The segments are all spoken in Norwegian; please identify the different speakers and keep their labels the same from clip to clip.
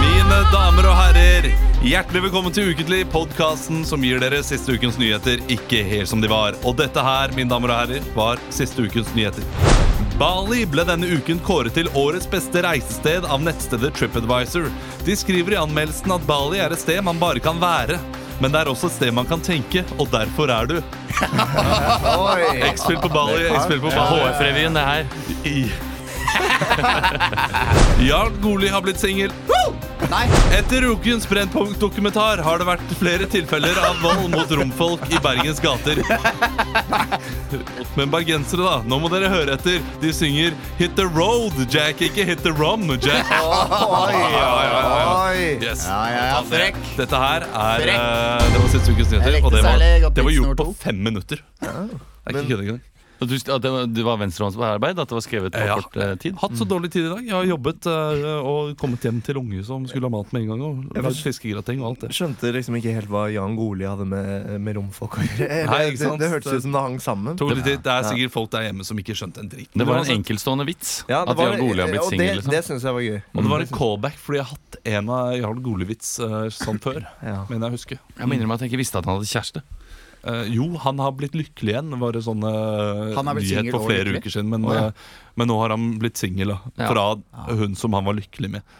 Speaker 1: Mine damer og herrer, hjertelig velkommen til Ukentlig, podkasten som gir dere siste ukens nyheter ikke helt som de var. Og dette her, mine damer og herrer, var siste ukens nyheter. Bali ble denne uken kåret til årets beste reisested av nettstedet TripAdvisor. De skriver i anmeldelsen at Bali er et sted man bare kan være. Men det er også et sted man kan tenke, og derfor er du. X-spill på Bali, X-spill på Bali.
Speaker 2: HF-revyen, det her.
Speaker 1: I- Jarl Goli har blitt singel. Etter ukens Brennpunkt-dokumentar har det vært flere tilfeller av vold mot romfolk i Bergens gater. Men bergensere, da. Nå må dere høre etter. De synger 'Hit the road, Jack', ikke 'Hit the rom, Jack'. Yes. Dette her er eh, Det var siste ukens nyheter, og det var, det var gjort på fem minutter. Det er ikke kødd engang.
Speaker 2: Og Du, at det var- du var venstrehåndsarbeid? At det var skrevet på
Speaker 1: Ja.
Speaker 2: kort eh, tid?
Speaker 1: Hatt så dårlig tid i dag. Jeg har jobbet eh, og kommet hjem til unge som skulle ha mat med en gang. Og lagd fiskegrateng og alt det.
Speaker 3: Skjønte liksom ikke helt hva Jan Goli hadde med, med romfolk å gjøre. Eller,
Speaker 1: Nei, ikke
Speaker 3: det,
Speaker 1: sant?
Speaker 3: det hørtes ut som det hang sammen.
Speaker 1: Tok litt tid. Det er sikkert folk der hjemme som ikke skjønte en drit.
Speaker 2: Det var altså- en
Speaker 1: Uansett.
Speaker 2: enkeltstående vits.
Speaker 3: Ja, det
Speaker 2: at
Speaker 3: var-
Speaker 2: Jarl Goli har blitt
Speaker 3: og
Speaker 2: singel.
Speaker 3: Det,
Speaker 2: Liksom.
Speaker 3: det syns jeg var gøy.
Speaker 1: Og det var
Speaker 4: Mm.
Speaker 1: en callback, fordi jeg har hatt en av Jarl Gole-vits eh, sånn før.
Speaker 3: Ja.
Speaker 1: Mener jeg å huske.
Speaker 2: Jeg må innrømme at jeg ikke visste at han hadde kjæreste.
Speaker 1: Eh, jo, han har blitt lykkelig igjen, var det sånn eh,
Speaker 4: Han er blitt
Speaker 1: nyhet
Speaker 4: singel
Speaker 1: for
Speaker 4: og
Speaker 1: flere
Speaker 4: lykkelig?
Speaker 1: uker siden. Men,
Speaker 2: Å, ja.
Speaker 1: eh, men nå har han blitt singel, da. Fra hun som han var lykkelig med.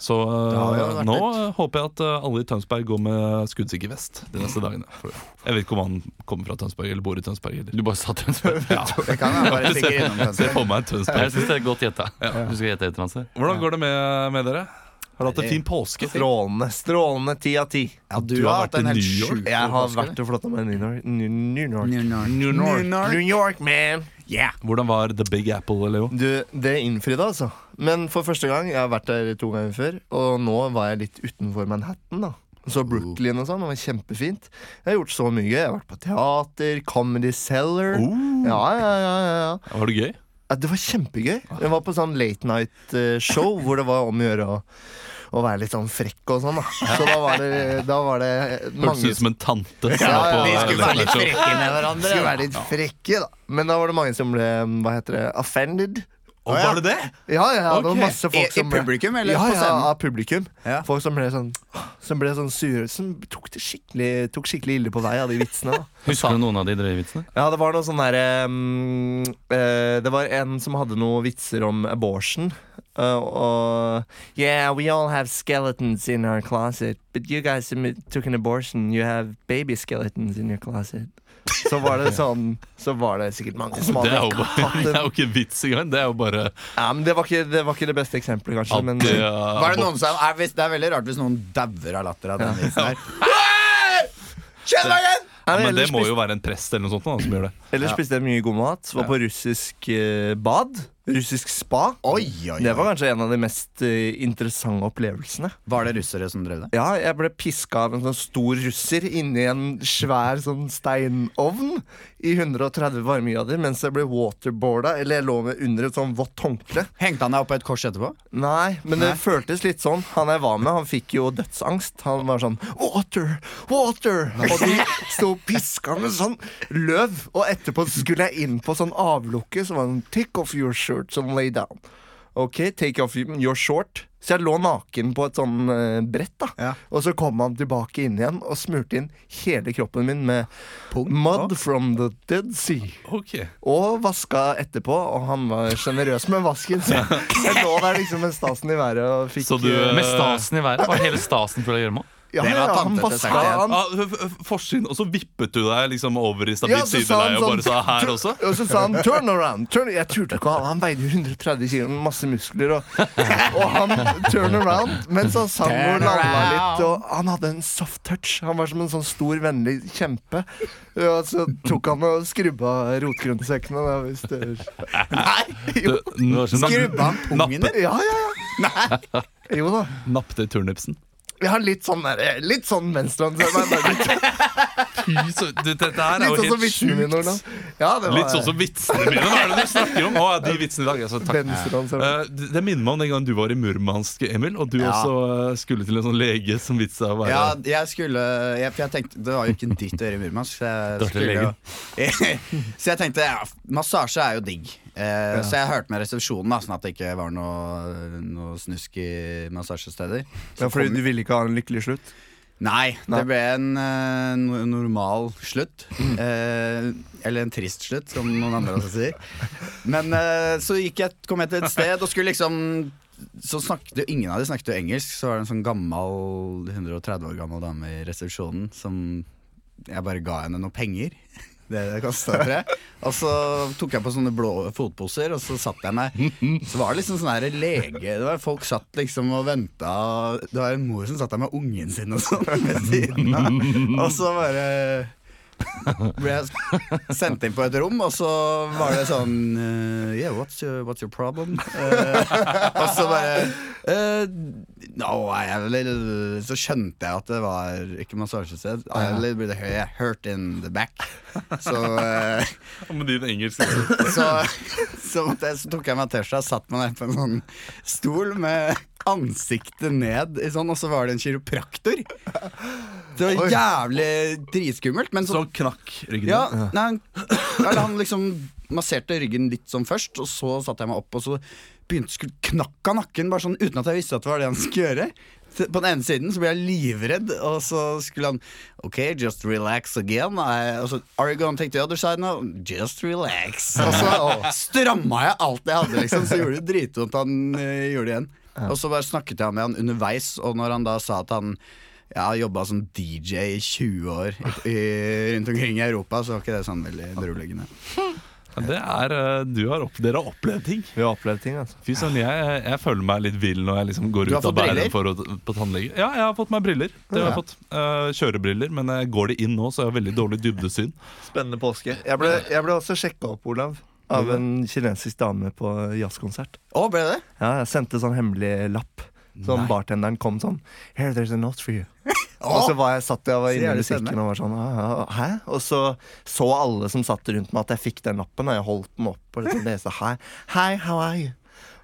Speaker 1: Så
Speaker 4: Ja, ja,
Speaker 1: eh,
Speaker 4: det har vært
Speaker 1: nå eh, håper jeg at eh, alle i Tønsberg går med skuddsikker vest de neste dagene. For jeg vet ikke om han kommer fra Tønsberg eller bor i Tønsberg. Eller.
Speaker 2: Du bare satt en spørsmål.
Speaker 4: Det kan være bare stikker innom
Speaker 1: Se
Speaker 4: kanskje.
Speaker 1: for meg en
Speaker 2: Jeg
Speaker 1: Tønsberg.
Speaker 2: syns det er godt gjetta. Du skal gjette etter han selv.
Speaker 1: Hvordan går det med, med dere? Har dere hatt en fin påske?
Speaker 3: Strålende. Strålende ti av ti.
Speaker 4: Ja, du,
Speaker 1: Du har
Speaker 4: har
Speaker 1: vært
Speaker 4: hatt en
Speaker 1: i
Speaker 4: helt
Speaker 1: New York.
Speaker 4: sjuk
Speaker 3: Jeg har
Speaker 4: påske,
Speaker 3: vært og flotta meg i New York. New- New
Speaker 4: eller?
Speaker 3: York.
Speaker 4: New York.
Speaker 1: New York.
Speaker 3: New York, man!
Speaker 4: Yeah.
Speaker 1: Hvordan var The Big Apple, Leo?
Speaker 3: Du, det innfridde, altså. Men for første gang. Jeg har vært der to ganger før. Og nå var jeg litt utenfor Manhattan, da. Så
Speaker 1: Oh.
Speaker 3: Brooklyn og sånn. Det var kjempefint. Jeg har gjort så mye gøy. Jeg har vært på teater, Comedy Cellar.
Speaker 1: Oh.
Speaker 3: Ja, ja, ja, ja, ja.
Speaker 1: Var det gøy?
Speaker 3: Ja, det var kjempegøy. Jeg var på sånn late night eh, show hvor det var om å gjøre å, å være litt sånn frekk og sånn. Da. Så da var det, da var det
Speaker 1: Hørtes
Speaker 3: mange
Speaker 1: ut som en tante. som
Speaker 3: Ja,
Speaker 1: var på-
Speaker 4: Vi skulle være litt
Speaker 1: Show.
Speaker 4: frekke med hverandre.
Speaker 3: skulle
Speaker 4: da.
Speaker 3: være litt frekke, da. Men da var det mange som ble hva heter det, offended.
Speaker 1: Og var det det?
Speaker 3: Ja, ja, ja, det
Speaker 1: Ok.
Speaker 3: var masse
Speaker 4: I, I
Speaker 3: folk som ble
Speaker 4: publikum eller
Speaker 3: ja,
Speaker 4: på
Speaker 3: ja,
Speaker 4: scenen?
Speaker 3: av publikum.
Speaker 4: Ja.
Speaker 3: Folk som ble sånn Som ble sånn sure. Som tok det skikkelig, tok skikkelig ille på vei av de vitsene. da
Speaker 2: Husker du noen av de drøye vitsene?
Speaker 3: Ja, det var noe sånn derre mm, eh, Det var en som hadde noen vitser om abortion. eh, og Yeah, we all have skeletons in our closet, but you guys who took an abortion, you have baby skeletons in your closet. Så var det sånn Så var det sikkert mange som
Speaker 1: Det
Speaker 3: hadde
Speaker 1: er jo, bare, det er jo ikke vits engang. Det er jo bare
Speaker 3: ja, men det, var ikke, det var ikke det beste eksempelet, kanskje.
Speaker 1: at
Speaker 3: Men
Speaker 1: det,
Speaker 3: ja,
Speaker 1: uh,
Speaker 4: Var det, noen som, er, hvis, det er veldig rart hvis noen dauer av latter av den vitsen her. Kjenn deg igjen!
Speaker 1: Men det
Speaker 3: ellers
Speaker 1: må jo være en prest eller noe sånt da, som gjør det.
Speaker 3: spiste- Ellers spiste jeg mye god mat. Var på russisk eh, bad. Russisk spa.
Speaker 4: Oi, oi,
Speaker 3: Det
Speaker 4: oi.
Speaker 3: var kanskje en av de mest eh, interessante opplevelsene.
Speaker 4: Var det russere som drev det?
Speaker 3: Ja, jeg ble piska av en sånn stor russer inni en svær sånn steinovn i 130 varmegrader mens jeg ble waterboarda, eller jeg lå med under et sånn vått håndkle.
Speaker 4: Hengte han deg opp på et kors etterpå?
Speaker 3: Nei, men det føltes litt sånn. Han jeg var med, han fikk jo dødsangst. Han var sånn 'water, water'. Og de sto og piska med sånn løv. Og etterpå skulle jeg inn på sånn avlukke, så var det sånn 'take off your shirt and lay down'. Ok, take off your short. Så jeg lå naken på et sånn eh, brett, da.
Speaker 4: Ja.
Speaker 3: Og så kom han tilbake inn igjen og smurte inn hele kroppen min med mud from the dead sea. Og vaska etterpå, og han var sjenerøs med vasken. Så jeg lå der liksom med stasen i været og fikk
Speaker 1: Så du,
Speaker 3: eh,
Speaker 2: Med stasen i været? Var hele stasen full av gjørme?
Speaker 3: Ja,
Speaker 4: Det var
Speaker 3: ja, han
Speaker 4: tante til
Speaker 3: vaska
Speaker 4: Sankt
Speaker 3: han.
Speaker 1: Ja, f- f- forsyn, og så vippet du deg liksom over i
Speaker 3: Ja,
Speaker 1: stabilt
Speaker 3: så sa han
Speaker 1: sideleie og
Speaker 3: sånn,
Speaker 1: bare sa her også?
Speaker 3: Og så sa han 'turn around'. Turn. Jeg turte ikke han. Han veide jo 130 kg, masse muskler. Og, og han turn around mens han sang og
Speaker 4: Turn
Speaker 3: lalla
Speaker 4: around.
Speaker 3: litt. Og han hadde en soft touch. Han var som en sånn stor, vennlig kjempe. Og så tok han og skrubba rotgrønnsekkene. Da, hvis det Nei! Jo.
Speaker 4: Skrubba han pungen din?
Speaker 3: Ja, ja, ja. Nei. Jo da.
Speaker 1: Nappte turnipsen.
Speaker 3: Jeg har litt sånn, der- litt sånn venstrehåndsarbeid.
Speaker 1: Fy så- du, Dette her
Speaker 3: Litt
Speaker 1: er jo
Speaker 3: sånn som
Speaker 1: helt
Speaker 3: vitsene
Speaker 1: sjukt.
Speaker 3: dine, Olav. Ja, det var
Speaker 1: Litt sånn som vitsene mine. Hva er det du snakker om? Å, ja, de vitsene i dag. Altså, takk.
Speaker 3: venstrehåndsarbeid.
Speaker 1: Eh, det det minner meg om den gangen du var i Murmansk, Emil, og du
Speaker 4: Ja.
Speaker 1: også eh, skulle til en sånn lege som vitsa å være
Speaker 4: Ja, jeg skulle jeg, For jeg tenkte Det var jo ikke en dritt å gjøre i Murmansk. Så jeg,
Speaker 2: til
Speaker 4: skulle, jo- så jeg tenkte ja, massasje er jo digg. Eh, Så jeg hørte med resepsjonen, da sånn at det ikke var noe, noe snusk i massasjesteder. Så
Speaker 3: Ja, fordi
Speaker 4: kom-
Speaker 3: du ville ikke ha en lykkelig slutt?
Speaker 4: Nei,
Speaker 3: Nei. Mm.
Speaker 4: det ble en eh, no- normal slutt. Eh, eller en trist slutt, som noen andre også sier. Men eh, så gikk jeg, kom jeg til et sted og skulle liksom så snakket jo, Ingen av de snakket jo engelsk, så var det en sånn gammel 130 år gammel dame i resepsjonen som Jeg bare ga henne noen penger. Det det kostet, tror jeg. Og så tok jeg på sånne blå fotposer, og så satt jeg meg. Så var det liksom sånn her lege det var Folk satt liksom og venta. Det var en mor som satt der med ungen sin og sånn ved siden av. Og så bare ble jeg sendt inn på et rom, og så var det sånn eh, Yeah, what's your, what's your problem? Eh, og så bare eh, no, I have a little Så skjønte jeg at det var ikke massasjested. I have a little bit of hu- hurt in the back. Så eh,
Speaker 1: med din engelske
Speaker 4: så, så, måtte jeg, så tok jeg meg til seg og satt meg ned på en sånn stol med ansiktet ned i sånn, og så var det en kiropraktor. Det var jævlig dritskummelt, men så
Speaker 1: som knakk ryggen.
Speaker 4: ja,
Speaker 1: din.
Speaker 4: nei, han, eller han liksom masserte ryggen litt sånn først, og så satte jeg meg opp, og så begynte skulle knakk av nakken, bare sånn uten at jeg visste at det var det han skulle gjøre. Så På den ene siden så ble jeg livredd, og så skulle han OK, just relax again. I, og så Are you gonna take the other side now? Just relax. Og så stramma jeg alt jeg hadde, liksom, så gjorde det dritvondt han eh, gjorde det igjen. Og så bare snakket jeg med han underveis, og når han da sa at han jeg har jobba som DJ i 20 år i, i, rundt omkring i Europa, så var ikke det sånn veldig beroligende.
Speaker 1: Ja, Det er, eh, du har opp, dere har opplevd ting.
Speaker 3: Vi har opplevd ting, altså.
Speaker 1: Fy søren, jeg, jeg føler meg litt vill når jeg liksom går
Speaker 4: Du har
Speaker 1: ut av
Speaker 4: fått
Speaker 1: bæren
Speaker 4: briller?
Speaker 1: for å, på tannlege. Ja, jeg har fått meg briller. Det har jeg fått. Eh, kjørebriller, men jeg går det inn nå, så jeg har veldig dårlig dybdesyn.
Speaker 3: Spennende påske. Jeg ble, jeg ble også sjekka opp, Olav, av en kinesisk dame på jazzkonsert.
Speaker 4: Å, ble det?
Speaker 3: Ja, jeg sendte sånn hemmelig lapp. Som bartenderen kom sånn Here, there's a note for you.
Speaker 4: Å!
Speaker 3: Og så var jeg satt jeg var inne i
Speaker 4: jævlig
Speaker 3: musikken
Speaker 4: spennende.
Speaker 3: og var sånn «Ah, ah, Hæ? Og så så alle som satt rundt meg, at jeg fikk den lappen, og jeg holdt den opp og liksom leste Hei, hei, how are you?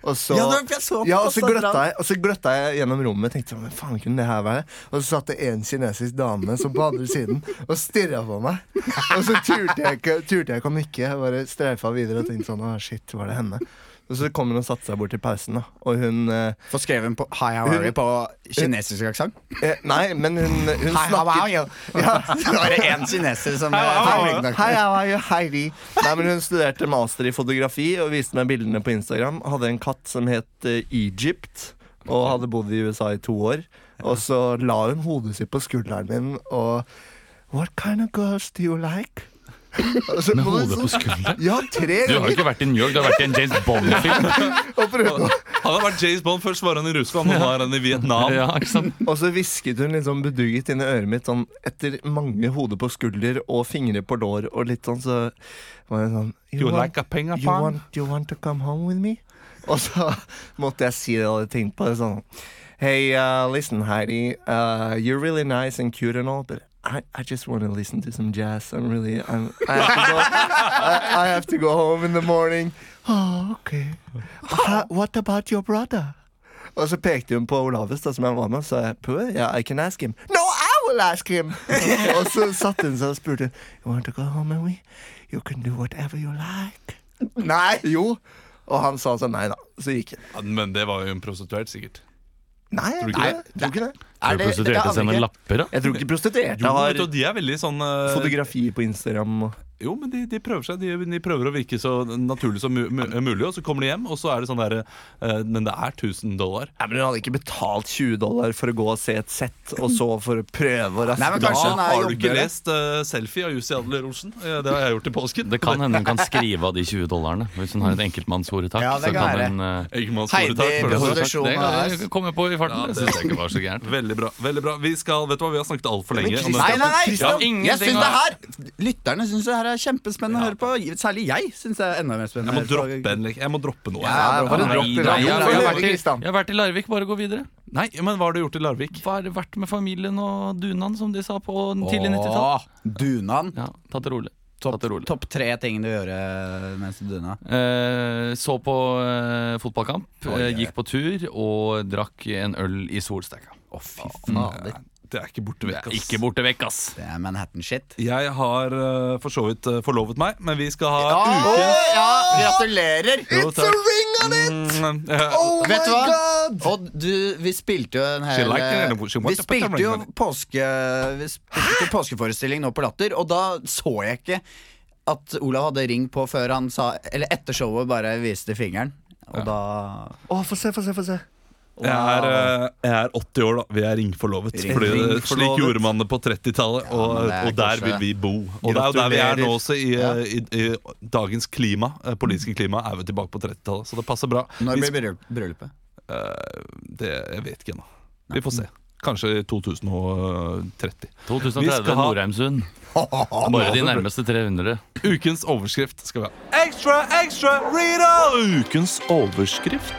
Speaker 3: Og så,
Speaker 4: Ja, det- jeg så på
Speaker 3: ja, og så
Speaker 4: Sandra.
Speaker 3: gløtta jeg, og så gløtta jeg gjennom rommet. Tenkte sånn, men faen kunne det her være Og så satt det en kinesisk dame som på andre siden og stirra på meg. Og så turte jeg ikke turte jeg ikke å nikke. Jeg bare streifa videre og tenkte sånn Å, shit, var det henne? Og så kom hun og satte seg bort i pausen, da. Og hun eh,
Speaker 4: Få skrevet en på Hi How Are You på kinesisk aksent.
Speaker 3: eh, Nei, men hun, hun
Speaker 4: Hi How Are
Speaker 3: snakket
Speaker 4: You. Ja. Så var det én kineser som
Speaker 3: Hei, hei, hei, hei, vi. Nei, men Hun studerte master i fotografi og viste meg bildene på Instagram. Hadde en katt som het eh, Egypt, og hadde bodd i USA i to år. Og så la hun hodet sitt på skulderen min og What kind of girls do you like? Med
Speaker 2: hodet på skulderen?
Speaker 3: Ja, tre
Speaker 2: Du har jo
Speaker 3: ganger.
Speaker 2: ikke vært i New York, du har vært i en James Bond-film.
Speaker 3: Og, prøvde, å-
Speaker 1: Han har vært James Bond. Først var han i Russland, og nå er han i Vietnam.
Speaker 2: Ja, ikke sant?
Speaker 3: og så hvisket hun liksom bedugget inn i øret mitt sånn etter mange hoder på skulder og fingre på lår og litt sånn, så var hun sånn
Speaker 1: You
Speaker 3: want-
Speaker 1: like a penga
Speaker 3: you want, you want to come home with me? Og så måtte jeg si det jeg hadde tenkt på. Det, sånn Hey, uh, listen, Heidi. Uh, you're really nice and cute and all, but I, I just want to listen to some jazz. I'm really, I'm, I, have to go, I, I have to go home in the morning. Oh, okay. Ha- what about your brother? Og så pekte hun på Olaves, da, som jeg var med, og sa jeg, «Pø, yeah, I can ask him. No, I will ask him! og så satte hun seg og spurte You want to go home with me? You can do whatever you like. Nei! Jo. Og han sa sånn nei da. Så gikk jeg.
Speaker 1: Ja, Men det var jo en prostituert, sikkert.
Speaker 3: Nei,
Speaker 1: Tror du
Speaker 3: jeg tror
Speaker 1: ikke det?
Speaker 3: jeg tror ikke det.
Speaker 2: Du prostituerte seg med lapper, da.
Speaker 3: Jeg tror ikke prostituerte
Speaker 1: Jo,
Speaker 3: har
Speaker 1: vet du, de er veldig sånn eh,
Speaker 3: fotografi på Instagram og
Speaker 1: Jo, men de, de prøver seg. De, de prøver å virke så naturlig som mu mu mulig, og så kommer de hjem, og så er det sånn derre eh, Men det er 1000 dollar.
Speaker 3: Nei, men Hun hadde ikke betalt 20 dollar for å gå og se et sett, og så for å prøve å raske
Speaker 4: Nei, men
Speaker 3: det
Speaker 4: kanskje
Speaker 3: av.
Speaker 4: hun er
Speaker 1: Har du ikke
Speaker 4: jobber,
Speaker 1: lest eh, Selfie av Jussi Adler Olsen? Eh, det har jeg gjort i påsken.
Speaker 2: Det kan hende hun kan skrive av de 20 dollarne. Hvis hun har et enkeltmannshoretak.
Speaker 4: Ja, det
Speaker 2: så
Speaker 4: kan være.
Speaker 2: hun, eh,
Speaker 1: Eggmanns
Speaker 4: Heidi
Speaker 1: foretak, for det har du sagt.
Speaker 4: Produksjon
Speaker 2: det
Speaker 4: av
Speaker 2: kan
Speaker 4: oss.
Speaker 2: jeg komme på i farten.
Speaker 1: Ja, det-
Speaker 2: det synes jeg ikke var så gærent.
Speaker 1: Veldig bra. veldig bra Vi skal, vet du hva, vi har snakket altfor lenge. om
Speaker 4: Nei,
Speaker 1: dette.
Speaker 4: nei, nei!
Speaker 1: Ja,
Speaker 4: jeg
Speaker 2: ingenting
Speaker 4: synes det her Lytterne syns det her er kjempespennende å høre på. Særlig jeg syns det er enda mer
Speaker 1: Jeg
Speaker 4: spennende.
Speaker 1: må
Speaker 4: å høre på.
Speaker 1: droppe, en, lek. jeg må droppe noe.
Speaker 3: Ja,
Speaker 4: Ja,
Speaker 3: bare
Speaker 2: nei,
Speaker 3: dropp
Speaker 2: nei,
Speaker 3: det.
Speaker 2: jeg-
Speaker 3: Jo, det
Speaker 2: jeg
Speaker 3: gjør
Speaker 2: har
Speaker 3: det,
Speaker 2: vært i-
Speaker 3: Kristian.
Speaker 2: Jeg har vært i Larvik, bare gå videre.
Speaker 1: Nei, men Hva har du gjort i Larvik?
Speaker 2: Bare vært med familien og dunan, som de sa på den tidlig 90-tall.
Speaker 4: Åh, Dunan.
Speaker 2: Ja, tatt det rolig. Tatt
Speaker 4: Topp
Speaker 2: det rolig.
Speaker 4: topp tre ting du gjør eh, mens du duner.
Speaker 2: Eh, så på eh, fotballkamp, eh, gikk på tur og drakk en øl i solsteika.
Speaker 4: Fader.
Speaker 1: Det er ikke borte vekk. ass.
Speaker 2: Ikke borte vekk, ass!
Speaker 4: Det er Manhattan-shit.
Speaker 1: Jeg har eh, for så vidt eh, forlovet meg, men vi skal ha
Speaker 4: Åh, ja, gratulerer!
Speaker 1: uke It's a ring on it! Oh
Speaker 4: Vet du hva? Og du, vi spilte jo en
Speaker 1: She
Speaker 4: hel
Speaker 1: liked it, and she
Speaker 4: Vi
Speaker 1: wanted to put her
Speaker 4: spilte jo
Speaker 1: ring on
Speaker 4: påske, vi spilte påskeforestilling nå på Latter, og da så jeg ikke at Olav hadde ring på før han sa Eller etter showet bare viste fingeren. Og da
Speaker 3: Å, få se, få se, få se.
Speaker 1: jeg, er, eh, jeg er 80 år, da. Vi er ringforlovet. Fordi det-
Speaker 4: Ringforlovet.
Speaker 1: Slik gjorde man det på 30-tallet, og,
Speaker 4: men det er
Speaker 1: og der
Speaker 4: kanskje-
Speaker 1: vil vi bo. Og det er jo der vi er nå
Speaker 3: Gratulerer.
Speaker 1: også, i, eh, i, i dagens klima. eh, Politiske klima er vi tilbake på 30-tallet, så det passer bra.
Speaker 4: Når
Speaker 1: Vi
Speaker 4: blir bryllup- bryllupet?
Speaker 1: Det, jeg vet ikke ennå. Vi får se. Kanskje i 2030.
Speaker 2: 2030
Speaker 1: Vi skal ha-
Speaker 2: Norheimsund. Bare de nærmeste 300.
Speaker 1: Ukens overskrift skal vi ha. Ekstra, ekstra, Rita! Ukens overskrift.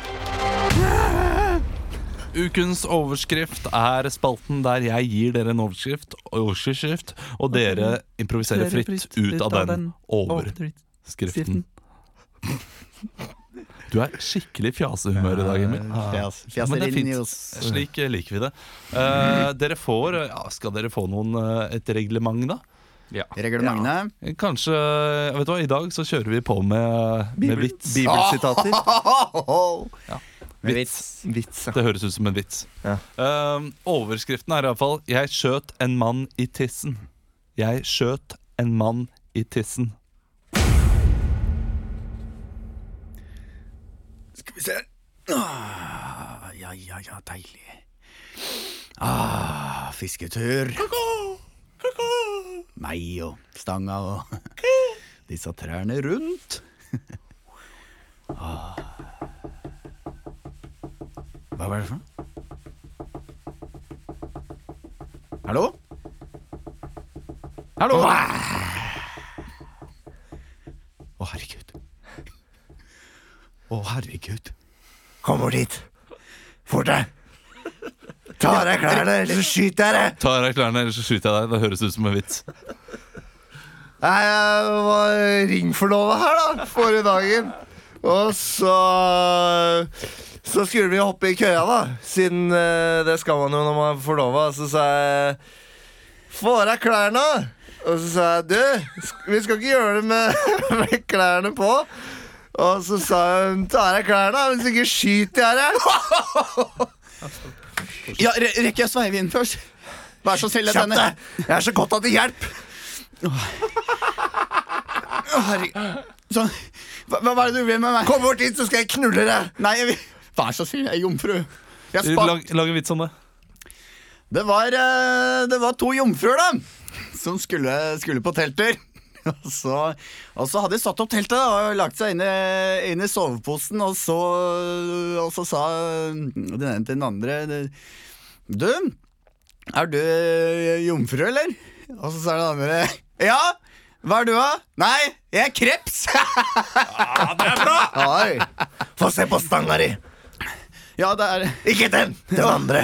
Speaker 1: Ukens overskrift er spalten der jeg gir dere en overskrift, overskrift og dere improviserer fritt ut av den overskriften. Du er skikkelig fjasehumør i dag, Emil.
Speaker 4: Fjas,
Speaker 1: Ja, men det er fint.
Speaker 4: fjaserinjos.
Speaker 1: Slik eh, liker vi det. Eh, dere får ja, Skal dere få noen, eh, et reglement, da?
Speaker 4: Reglementene.
Speaker 1: Kanskje Vet du hva, i dag så kjører vi på med, med vits.
Speaker 3: Bibelsitater.
Speaker 4: Med vits.
Speaker 3: Vits, ja.
Speaker 1: Det høres ut som en vits.
Speaker 3: Ja.
Speaker 1: Eh, overskriften er iallfall 'Jeg skjøt en mann i tissen'. Jeg skjøt en mann i tissen.
Speaker 4: Skal vi se ah, Ja, ja, ja, deilig ah, Fisketur Meg og stanga og Disse trærne rundt ah. Hva var det for noe? Hallo? Hallo? Å, herregud Å, herregud
Speaker 3: Kom bort hit. Fort deg. Ta av deg klærne, ellers så skyter jeg deg.
Speaker 1: Ta av deg klærne, ellers så skyter jeg deg. Det høres ut som en vits.
Speaker 3: Nei, jeg var ringforlova her, da, forrige dagen. Og så Så skulle vi hoppe i køya, da. Siden eh, det skal man jo når man er forlova. Så sa jeg Få av deg klærne! Og så sa jeg Du, sk- vi skal ikke gjøre det med, med klærne på. Og så sa hun ta av deg klærne, hvis ikke skyter jeg deg.
Speaker 4: Ja, re rekker jeg å sveive inn først? Vær så snill,
Speaker 3: Kjapp
Speaker 4: denne
Speaker 3: deg! Jeg er så godt at det hjelper!
Speaker 4: Å, herregud. Sånn. Hva, hva er det du vil med meg?
Speaker 3: Kom bort hit, så skal jeg knulle deg!
Speaker 4: Nei, jeg vil... Vær så snill, jeg er jomfru. Jeg spa...
Speaker 1: Lag, lag en vits om det.
Speaker 4: det, var, eh, det var to jomfruer, da, som skulle, skulle på telttur. Og så, og så hadde de satt opp teltet da, og lagt seg inn i, inn i soveposen, og så, og så sa den ene til den andre Du, er du eh, jomfru, eller? Og så sa den andre Ja! Hva er du, da? Nei, jeg er kreps!
Speaker 3: Oi. Få se på stanga di!
Speaker 4: ja, det er
Speaker 3: Ikke den! Den andre.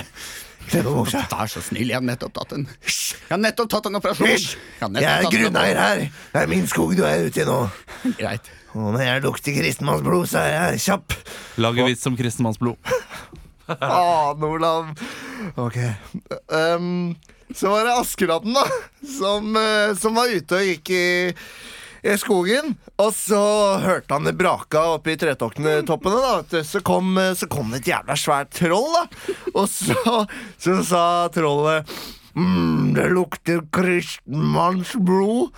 Speaker 3: Kle på buksa.
Speaker 4: Vær så snill, jeg har nettopp tatt en Jeg har nettopp tatt en operasjon.
Speaker 3: Hysj!
Speaker 4: har nettopp
Speaker 3: Jeg er
Speaker 4: tatt en
Speaker 3: grunneier her. Det er min skog du er ute i nå.
Speaker 4: operasjon. Greit.
Speaker 3: Og når jeg lukter kristenmannsblod, så er jeg kjapp.
Speaker 1: Lag en vits om kristenmannsblod.
Speaker 3: Faen, Olav. Ok. Um, så var det Askeladden, da, som, eh, som var ute og gikk i, i skogen. Og så hørte han det braka oppi tretoppene, da. vet du. Så kom, eh, så kom det et jævla svært troll, da. Og så, så sa trollet mm, Det lukter kristenmannsblod.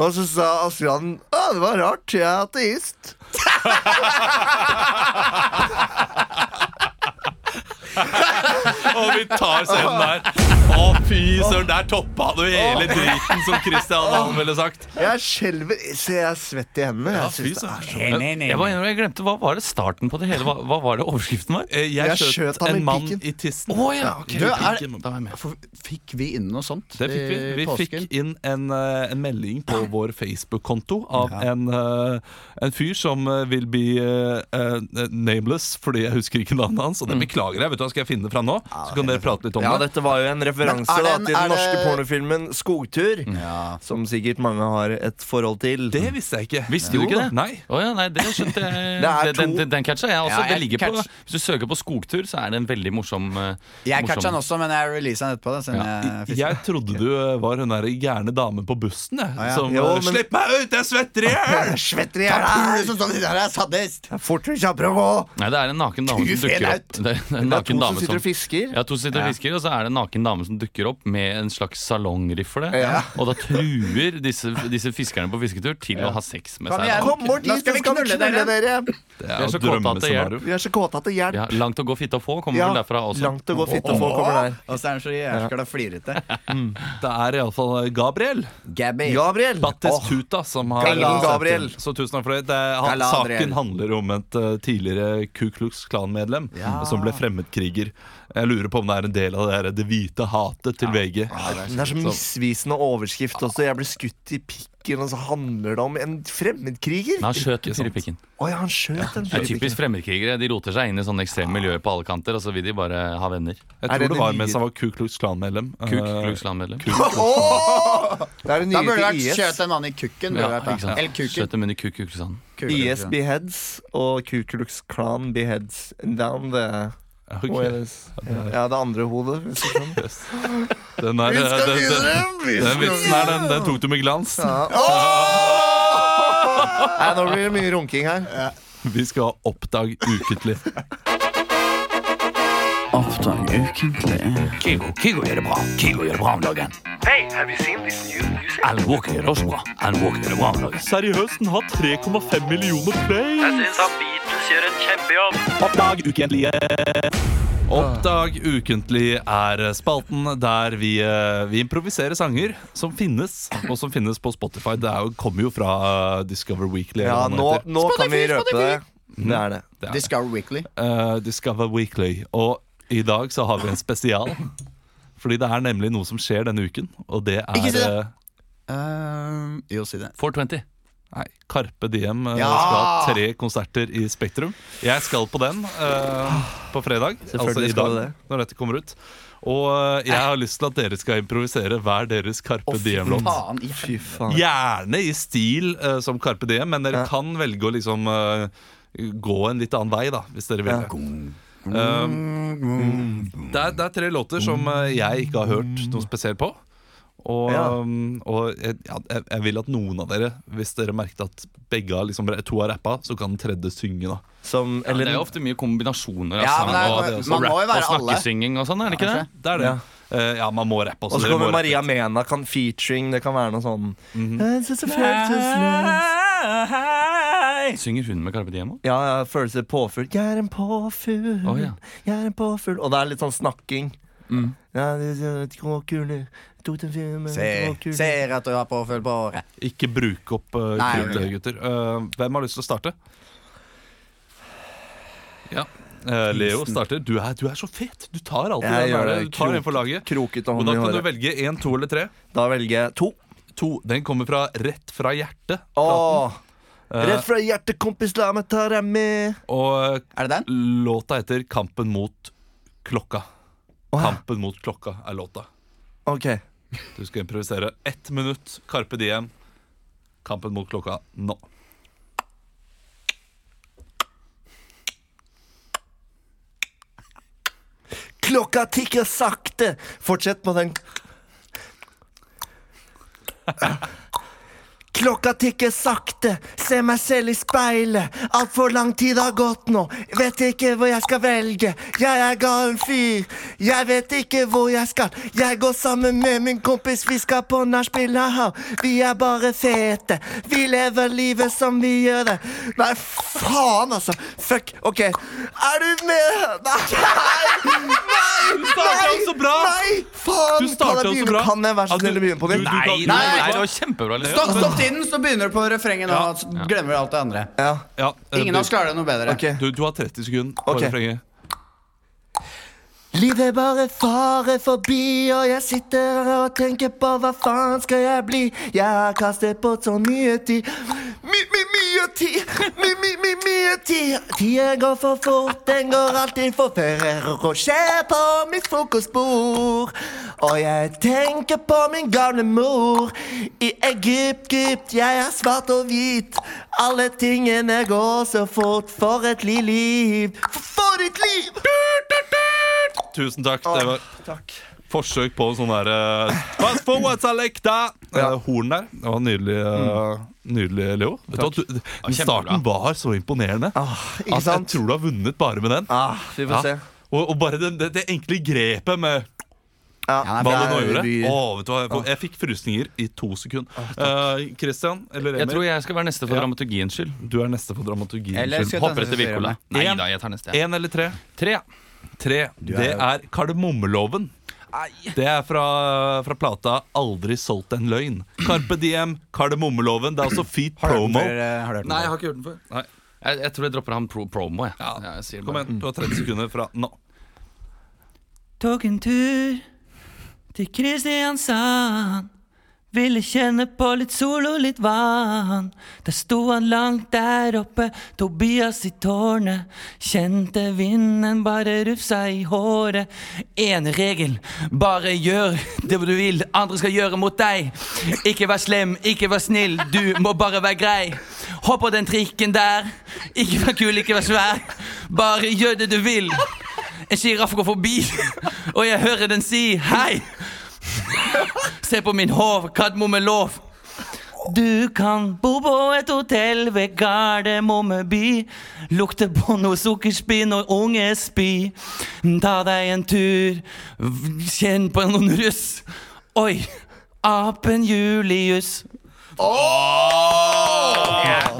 Speaker 3: Og så sa Asbjørn Å, det var rart, jeg er ateist.
Speaker 1: Og vi tar scenen der. Å, fy søren, der toppa du hele driten, som Christian Hallen ville sagt.
Speaker 3: Jeg skjelver. Se, jeg er svett i hendene. Jeg,
Speaker 1: Ja, fy
Speaker 3: synes det er.
Speaker 1: søren.
Speaker 2: Jeg, bare innrømmer, jeg glemte, Hva var det starten på det hele? Hva, hva var det overskriften var?
Speaker 1: Eh, Jeg
Speaker 3: Jeg
Speaker 1: skjøt
Speaker 3: skjøt ham
Speaker 1: en
Speaker 3: i
Speaker 1: mann
Speaker 3: pikken.
Speaker 1: i tissen.
Speaker 2: Å ja, ok.
Speaker 4: Du, er-
Speaker 1: Pikken.
Speaker 2: Da var jeg med.
Speaker 4: For fikk vi inn noe sånt
Speaker 1: Det fikk vi.
Speaker 4: i
Speaker 1: Vi
Speaker 4: Eh, påsken?
Speaker 1: fikk inn en, eh, en melding på vår Facebook-konto av en, eh, en fyr som eh, vil bli eh, eh, nameless, fordi jeg husker ikke navnet hans. Og det beklager jeg. vet du hva, Skal jeg finne det fram nå? Så kan dere prate litt om
Speaker 3: Ja,
Speaker 1: det.
Speaker 3: dette var jo en Mm. referanse
Speaker 4: Men er
Speaker 3: da,
Speaker 4: den-
Speaker 3: til den
Speaker 4: er
Speaker 3: norske
Speaker 4: det-
Speaker 3: pornofilmen 'Skogtur'.
Speaker 4: Ja.
Speaker 3: Som sikkert mange har et forhold til.
Speaker 1: Det visste jeg ikke.
Speaker 2: Visste du ikke det?
Speaker 1: Nei.
Speaker 2: Å ja, nei, det skjønte jeg.
Speaker 3: Det er
Speaker 2: Den- den,
Speaker 3: to-
Speaker 2: den, den catcha jeg også.
Speaker 4: Ja, jeg
Speaker 2: det ligger på,
Speaker 4: catch-
Speaker 2: hvis du søker på skogtur, så er det en veldig morsom eh,
Speaker 4: Jeg
Speaker 2: morsom-
Speaker 4: catcha den også, men jeg releasa den etterpå. Da, siden jeg
Speaker 1: Jeg,
Speaker 4: fikk-
Speaker 1: jeg trodde du eh, var hun der gærne damen på bussen. Jeg,
Speaker 4: ja.
Speaker 1: Som
Speaker 3: Jo,
Speaker 1: eh,
Speaker 3: men-
Speaker 1: 'Slipp meg ut, jeg svetter i hjel!'
Speaker 3: Svetter i
Speaker 4: sånn
Speaker 3: hjel! Fortere, kjappere, gå!
Speaker 2: Nei, det er en naken dame
Speaker 4: Du
Speaker 2: som
Speaker 4: fel
Speaker 2: dukker
Speaker 4: out.
Speaker 2: opp. Det er, en
Speaker 3: Det er to
Speaker 2: naken
Speaker 3: som
Speaker 2: dame
Speaker 3: sitter og fisker.
Speaker 2: Ja, to som sitter og fisker, og så er det en naken dame som dukker opp med en slags salongrifle.
Speaker 3: Ja.
Speaker 2: Og da truer disse, disse fiskerne på fisketur til å ha sex med
Speaker 4: Kom
Speaker 2: seg.
Speaker 4: igjen.
Speaker 2: da.
Speaker 3: Kom bort
Speaker 4: Nå
Speaker 3: hit,
Speaker 4: skal
Speaker 3: så
Speaker 4: vi
Speaker 3: skal vi
Speaker 4: knulle
Speaker 3: knulle dere!
Speaker 1: Det
Speaker 2: er
Speaker 1: jo
Speaker 2: så kåte at det
Speaker 1: et
Speaker 2: hjelper.
Speaker 1: drømmescenario.
Speaker 3: Vi er så kåte at det
Speaker 2: Ja,
Speaker 3: hjelper.
Speaker 2: langt å gå fitte å få kommer
Speaker 3: Ja,
Speaker 2: vel derfra også.
Speaker 3: langt å gå fitte få kommer der.
Speaker 4: Og så er den så jævla flirete.
Speaker 1: Det er iallfall Gabriel.
Speaker 4: Gabby.
Speaker 3: Gabriel!
Speaker 1: Battis
Speaker 3: Åh,
Speaker 1: Tuta som har
Speaker 3: Galadriel.
Speaker 1: sett den. Så tusen takk for det. det er, han,
Speaker 4: Galadriel.
Speaker 1: saken handler om et eh, tidligere Ku Klux Klan-medlem som ble fremmedkriger. Jeg lurer på om det er en del av det, her, det hvite hatet til VG.
Speaker 3: Den er så misvisende overskrift også. Jeg ble skutt i pikken, og så handler det om en fremmedkriger.
Speaker 2: Men han skjøt i tyrepikken.
Speaker 3: Å ja, han skjøt den.
Speaker 2: Det er typisk fremmedkrigere. De roter seg inn i sånne ekstreme miljøer på alle kanter, og så vil de bare ha venner.
Speaker 1: Jeg
Speaker 3: Er
Speaker 1: tror
Speaker 3: det
Speaker 1: det, var
Speaker 3: den nye-
Speaker 1: mens han var Ku Klux Klan-medlem. Eh,
Speaker 2: Kuk, klugslandmedlem.
Speaker 3: Det er
Speaker 4: Da
Speaker 3: det nye
Speaker 4: burde det vært
Speaker 3: til IS.
Speaker 4: skjøt en mann i kukken. burde
Speaker 2: Ja,
Speaker 4: det vært, da.
Speaker 2: ikke sant.
Speaker 4: Eller kuken.
Speaker 2: Skjøt dem under kuk, kuksand.
Speaker 4: Kuken,
Speaker 3: IS
Speaker 4: kuken.
Speaker 3: beheads og Ku Klux Klan beheads down the
Speaker 1: ok.
Speaker 3: Wales. Ja, det andre hodet. hvis du skjønner.
Speaker 1: Den, er, eh, den, den, den vitsen her, den, den tok du med glans.
Speaker 3: Nei, nå blir det mye runking her.
Speaker 1: Vi skal ha Oppdag ukentlig.
Speaker 5: Kygo, Kygo gjør det bra. Kygo gjør det bra om dagen. Alan Walker gjør det også bra. Alan Walker gjør det bra om dagen.
Speaker 1: Seriøst, den har 3,5 millioner play!
Speaker 5: Oppdag ukentlige
Speaker 1: Oppdag ukentlig er spalten der vi, eh, vi improviserer sanger som finnes, og som finnes på Spotify. Det er jo, kommer jo fra eh, Discover Weekly.
Speaker 3: Ja,
Speaker 1: eller hva den
Speaker 3: nå, nå
Speaker 1: heter.
Speaker 3: kan vi røpe det. Det er det.
Speaker 1: Det er det.
Speaker 4: Discover Weekly.
Speaker 1: Eh, Discover Weekly. Og i dag så har vi en spesial. Fordi det er nemlig noe som skjer denne uken, og det er
Speaker 4: Ikke si det.
Speaker 1: eh,
Speaker 4: Ehm, jo, si det.
Speaker 2: 420.
Speaker 1: Nei, Karpe Diem eh,
Speaker 4: Ja!
Speaker 1: skal ha tre konserter i Spektrum. Jeg skal på den eh, på fredag. Altså
Speaker 3: skal
Speaker 1: i
Speaker 3: du
Speaker 1: dag,
Speaker 3: det.
Speaker 1: når dette kommer ut. Og eh, jeg har lyst til at dere skal improvisere hver deres Karpe Diem-låt.
Speaker 4: Faen. i
Speaker 3: Fy faen.
Speaker 1: Gjerne i stil eh, som Karpe Diem, men dere
Speaker 3: Ja.
Speaker 1: kan velge å liksom eh, gå en litt annen vei, da, hvis dere vil.
Speaker 3: Ja.
Speaker 1: det. Um, det, er, det er tre låter som eh, jeg ikke har hørt noe spesielt på. Og,
Speaker 3: Ja.
Speaker 1: um, og jeg, ja, jeg, jeg vil at noen av dere, hvis dere merket at begge har liksom, to har rappa, så kan den tredje synge, da.
Speaker 3: Som
Speaker 2: Ja, det
Speaker 3: eller,
Speaker 2: er jo ofte mye kombinasjoner av
Speaker 4: Ja,
Speaker 2: sang
Speaker 4: men det er-
Speaker 2: og, og
Speaker 4: man- man må jo
Speaker 2: rap og
Speaker 4: være alle.
Speaker 2: snakkesynging og sånn, er det ikke det?
Speaker 1: Det er det. Eh, ja, man må rappe også.
Speaker 3: Og så
Speaker 1: dere må
Speaker 3: kommer
Speaker 1: rappe.
Speaker 3: Maria Mena kan featuring. Det kan være noe sånn It's just a følelsesløs-
Speaker 2: Synger hun med Carpe Diem òg?
Speaker 3: Ja, ja, følelse påfugl. Jeg er en påfugl,
Speaker 2: Å, ja.
Speaker 3: jeg er en påfugl. Og det er litt sånn snakking. Ja, det er Tråkuler, tok den filmen
Speaker 4: Se,
Speaker 3: tråkuler.
Speaker 4: ser at du har påfølg på håret.
Speaker 1: Ikke bruke opp uh,
Speaker 4: Nei,
Speaker 1: kruttet,
Speaker 4: ok.
Speaker 1: gutter. Eh, hvem har lyst til å starte? Ja. Eh, Leo starter. Du er, du er så fet! Du tar alltid
Speaker 3: Jeg
Speaker 1: den
Speaker 3: gjør
Speaker 1: der.
Speaker 3: det.
Speaker 1: Du tar en
Speaker 3: Krok-
Speaker 1: for laget.
Speaker 3: Krokete
Speaker 1: Og
Speaker 3: hånd
Speaker 1: da
Speaker 3: i
Speaker 1: kan du
Speaker 3: håret.
Speaker 1: velge én, to eller tre.
Speaker 3: Da velger jeg to.
Speaker 1: To. Den kommer fra rett fra hjertet.
Speaker 3: Åh,
Speaker 1: Eh,
Speaker 3: rett fra hjertet, kompis, la meg ta deg med.
Speaker 1: og eh,
Speaker 4: Er det den?
Speaker 1: låta heter 'Kampen mot klokka'. Kampen mot klokka er låta.
Speaker 3: Ok.
Speaker 1: Du skal improvisere ett minutt. Carpe Diem. Kampen mot klokka nå.
Speaker 3: Klokka tikker sakte. Fortsett på den.
Speaker 6: Klokka tikker sakte, ser meg selv i speilet. Altfor lang tid har gått nå, vet ikke hvor jeg skal velge. Jeg er gal fyr, jeg vet ikke hvor jeg skal. Jeg går sammen med min kompis, vi skal på nachspiel, haha. Vi er bare fete, vi lever livet som vi gjør det. Nei, faen, altså. Fuck. OK. Er du med? Nei! Nei!
Speaker 1: Du starta så bra!
Speaker 6: Nei! Faen!
Speaker 1: Du starta
Speaker 6: kan jeg
Speaker 1: så
Speaker 6: begynne-
Speaker 1: bra.
Speaker 6: Kan jeg være
Speaker 1: At
Speaker 6: så
Speaker 1: du-
Speaker 6: snill å begynne på nytt?
Speaker 1: du- du-
Speaker 2: Nei,
Speaker 1: kan-
Speaker 2: nei, nei, det var kjempebra. Leo.
Speaker 4: Stopp, stopp tiden, så begynner du på refrenget nå. Så glemmer du alt det andre.
Speaker 6: Ja.
Speaker 1: Ja, eh,
Speaker 4: Ingen av oss klarer det noe bedre.
Speaker 6: Ok.
Speaker 1: du, du, du har 30 sekunder på
Speaker 6: Ok.
Speaker 1: refrenget.
Speaker 6: Livet bare farer forbi, og jeg sitter her og tenker på hva faen skal jeg bli? Jeg har kastet bort så mye tid. My, my, mye tid! My, my, my, mye tid! Tiden går for fort, den går alltid for Ferrero Rocher på mitt frokostbord. Og jeg tenker på min gamle mor i Egypt, Egypt, jeg er svart og hvit. Alle tingene går så fort for et li- liv. For, for et liv!
Speaker 1: Tusen takk. Det var
Speaker 6: Takk.
Speaker 1: forsøk på sånn der eh, Pass på what's a lekta! Eh, Horn der. Det var nydelig, eh, nydelig Leo. Vet du hva, du, den starten var så imponerende.
Speaker 3: Ah,
Speaker 6: Ah, ikke
Speaker 1: at jeg
Speaker 6: sant?
Speaker 1: tror du har vunnet bare med den.
Speaker 6: Ah, vi får
Speaker 1: Ja.
Speaker 6: se.
Speaker 1: Og, og bare det, det, det enkle grepet med
Speaker 4: Ja,
Speaker 1: hva
Speaker 4: det
Speaker 1: du nå
Speaker 4: er-
Speaker 1: gjorde.
Speaker 4: vi-
Speaker 1: Å, vet du hva, jeg, jeg fikk frysninger i to sekunder. Eh, Christian eller
Speaker 2: Jeg tror
Speaker 1: Emil,
Speaker 2: jeg skal være neste for dramaturgiens skyld.
Speaker 1: du er neste på dramaturgien.
Speaker 4: Eller skal jeg ta
Speaker 2: Hopper etter
Speaker 4: neste serie
Speaker 2: Wirkola.
Speaker 4: med?
Speaker 2: Nei
Speaker 1: En.
Speaker 2: da, jeg tar neste. jeg.
Speaker 1: Én eller tre?
Speaker 2: Tre, ja.
Speaker 1: Tre, det er kardemommeloven. Det er fra, fra plata 'Aldri solgt en løgn'. Carpe Diem, kardemommeloven. Det er også feat
Speaker 4: Har du hørt den
Speaker 1: promo.
Speaker 4: før, eh, har du hørt den
Speaker 2: Nei, jeg
Speaker 4: før?
Speaker 2: har ikke hørt den før. Nei. Jeg, jeg tror jeg dropper han pro promo, jeg. Ja, jeg sier
Speaker 1: Kom
Speaker 2: bare-
Speaker 1: igjen, du har 30 sekunder fra nå.
Speaker 7: Tok en tur til Kristiansand. Ville kjenne på litt sol og litt vann. Der sto han langt der oppe, Tobias i tårnet. Kjente vinden bare rufsa i håret. Én regel, bare gjør det du vil andre skal gjøre mot deg. Ikke vær slem, ikke vær snill, du må bare være grei. Hopp på den trikken der. Ikke vær kul, ikke vær svær. Bare gjør det du vil. En sjiraff går forbi, og jeg hører den si hei. Se på min hov, kardemommelov. Du kan bo på et hotell ved Gardermomme by. Lukte på noe sukkerspinn og ungespy. Ta deg en tur, v- kjenn på noen russ. Oi, apen Julius.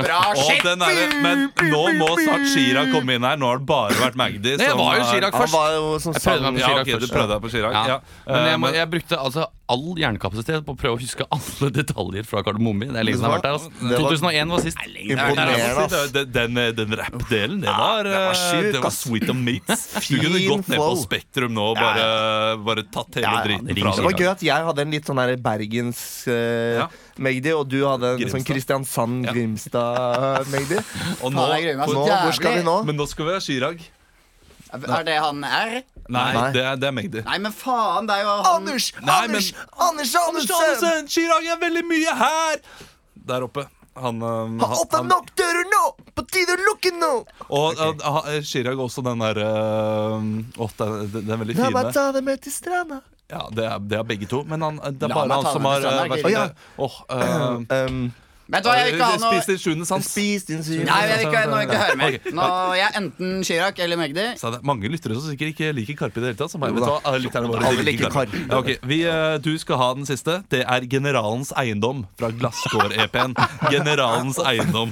Speaker 4: Bra,
Speaker 1: Og
Speaker 4: shit!
Speaker 1: den er, det, men nå må snart Chirag komme inn her. Nå har det bare vært Magdi.
Speaker 2: Nei, jeg var jo Chirag
Speaker 6: Han
Speaker 2: først.
Speaker 6: var jo sånn som
Speaker 2: Jeg prøvde meg på
Speaker 1: Ja,
Speaker 2: Chirag
Speaker 1: ok, du
Speaker 2: først.
Speaker 1: prøvde deg på Chirag.
Speaker 2: Ja.
Speaker 1: Ja.
Speaker 2: Men
Speaker 1: Eh,
Speaker 2: jeg, må,
Speaker 1: men-
Speaker 2: jeg brukte altså all hjernekapasitet på å prøve å huske alle detaljer fra Kardemomme. Det er lenge siden jeg har vært der.
Speaker 6: Det
Speaker 2: Altså.
Speaker 6: var-
Speaker 2: 2001 var sist.
Speaker 1: Nei, jeg må
Speaker 6: Imponerende,
Speaker 1: si
Speaker 6: ass.
Speaker 1: det- Den, den, den rap-delen, det var, eh,
Speaker 6: sjukt,
Speaker 1: det var
Speaker 6: ass.
Speaker 1: sweet and meats. Du
Speaker 6: Fin
Speaker 1: kunne gått ned på
Speaker 6: flow.
Speaker 1: Spektrum nå og bare, bare tatt hele
Speaker 6: Ja, ja,
Speaker 1: driten
Speaker 2: ring
Speaker 1: fra
Speaker 6: Det
Speaker 2: Chirag.
Speaker 1: deg.
Speaker 6: var gøy at jeg hadde en litt sånn her Bergens eh,
Speaker 1: Ja.
Speaker 6: Magdi, og du hadde en sånn
Speaker 1: Grimstad.
Speaker 6: Kristiansand-Grimstad-Magdi.
Speaker 1: Og nå,
Speaker 4: Faen, jeg gruer
Speaker 3: sånn
Speaker 4: meg så
Speaker 6: Nå, Hvor skal vi
Speaker 4: jævlig.
Speaker 6: nå?
Speaker 1: men nå skal vi ha Chirag.
Speaker 4: Er det han R?
Speaker 1: Nei,
Speaker 6: Nei.
Speaker 1: Det, er, det er Magdi.
Speaker 4: Nei, men faen, det er jo han
Speaker 6: Anders!
Speaker 1: Nei, men-
Speaker 6: Anders! Anders Andersen!
Speaker 1: Andersen, Chirag er veldig mye her! Der oppe. Han, eh,
Speaker 6: Ha åpnet opp dører nå! På tide å lukke nå!
Speaker 1: Og eh, ha- eh, Chirag også den derre Åh, den, den- den er veldig
Speaker 6: La meg
Speaker 1: fine.
Speaker 6: ta deg med til stranda.
Speaker 1: Ja, det er, det er begge to. Men han, det er
Speaker 4: La
Speaker 1: bare
Speaker 4: meg
Speaker 1: han
Speaker 4: ta
Speaker 1: som
Speaker 4: den
Speaker 1: har
Speaker 4: til
Speaker 1: eh,
Speaker 4: Sandberg.
Speaker 1: vært
Speaker 6: Å, ja.
Speaker 1: med. Åh, eh,
Speaker 6: Um,
Speaker 4: Vet du hva, jeg vil ikke ha
Speaker 1: Spis
Speaker 4: noe
Speaker 1: din sjuende sans.
Speaker 6: spis din syv.
Speaker 4: Nei, jeg vil ikke, nå vil jeg ikke høre mer.
Speaker 1: Ok.
Speaker 4: Nå jeg er enten Chirag eller Magdi.
Speaker 1: Så det er mange lyttere som sikkert ikke liker Karpe i det hele tatt. Så
Speaker 6: Jo
Speaker 1: bare, vet du
Speaker 6: da.
Speaker 1: hva, alle lytterne våre,
Speaker 6: Alle
Speaker 1: de
Speaker 6: liker Karpe.
Speaker 1: Ja, ok. vi, eh, du skal ha den siste. Det er Generalens eiendom fra Glasskår-EP-en. Generalens eiendom.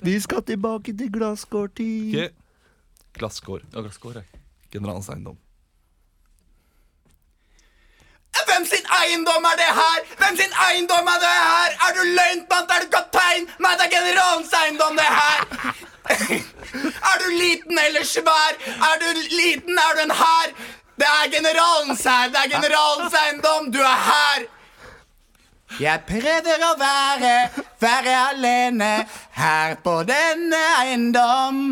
Speaker 6: Vi skal tilbake til glasskår-tid.
Speaker 1: Ok. Glasskår. Generalens eiendom.
Speaker 4: Hvem sin eiendom er det her? Hvem sin eiendom er det her? Er du løytnant? Er du kaptein? Nei, det er generalens eiendom, det her. er du liten eller svær? Er du liten, er du en hær? Det er generalens her. Det er generalens eiendom. Du er her. Jeg prøver å være, være alene her på denne eiendom.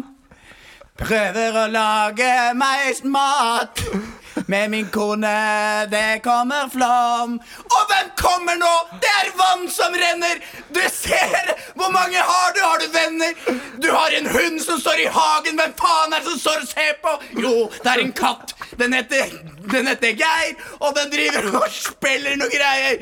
Speaker 4: Prøver å lage meg mat med min kone. Det kommer flom. Og hvem kommer nå? Det er vann som renner. Du ser! Hvor mange har du? Har du venner? Du har en hund som står i hagen. Hvem faen er det som står og ser på? Jo, det er en katt. Den heter, den heter Geir, og den driver og spiller noe greier.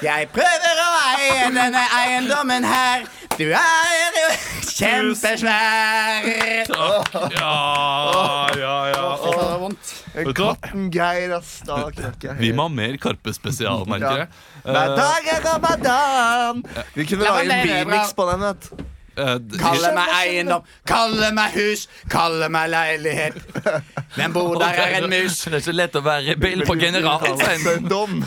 Speaker 4: Jeg prøver å eie denne eiendommen her. Du er jo kjempesvær.
Speaker 1: Ja, ja, ja.
Speaker 4: det var vondt.
Speaker 1: Vet du hva?
Speaker 3: Katten Geir, ass. Da knakk jeg.
Speaker 1: Vi må ha mer Karpe-spesial, merker jeg.
Speaker 3: Hverdag er ramadan. Vi kunne
Speaker 4: La
Speaker 3: lage
Speaker 4: meg
Speaker 3: en
Speaker 4: leve, bra.
Speaker 3: bimix på den. vet du.
Speaker 1: Eh, d-
Speaker 4: Kalle meg eiendom, kalle meg hus, kalle meg leilighet. Hvem bor der er en mus.
Speaker 2: Det er så lett å være bil på generalen sin.
Speaker 3: Dom.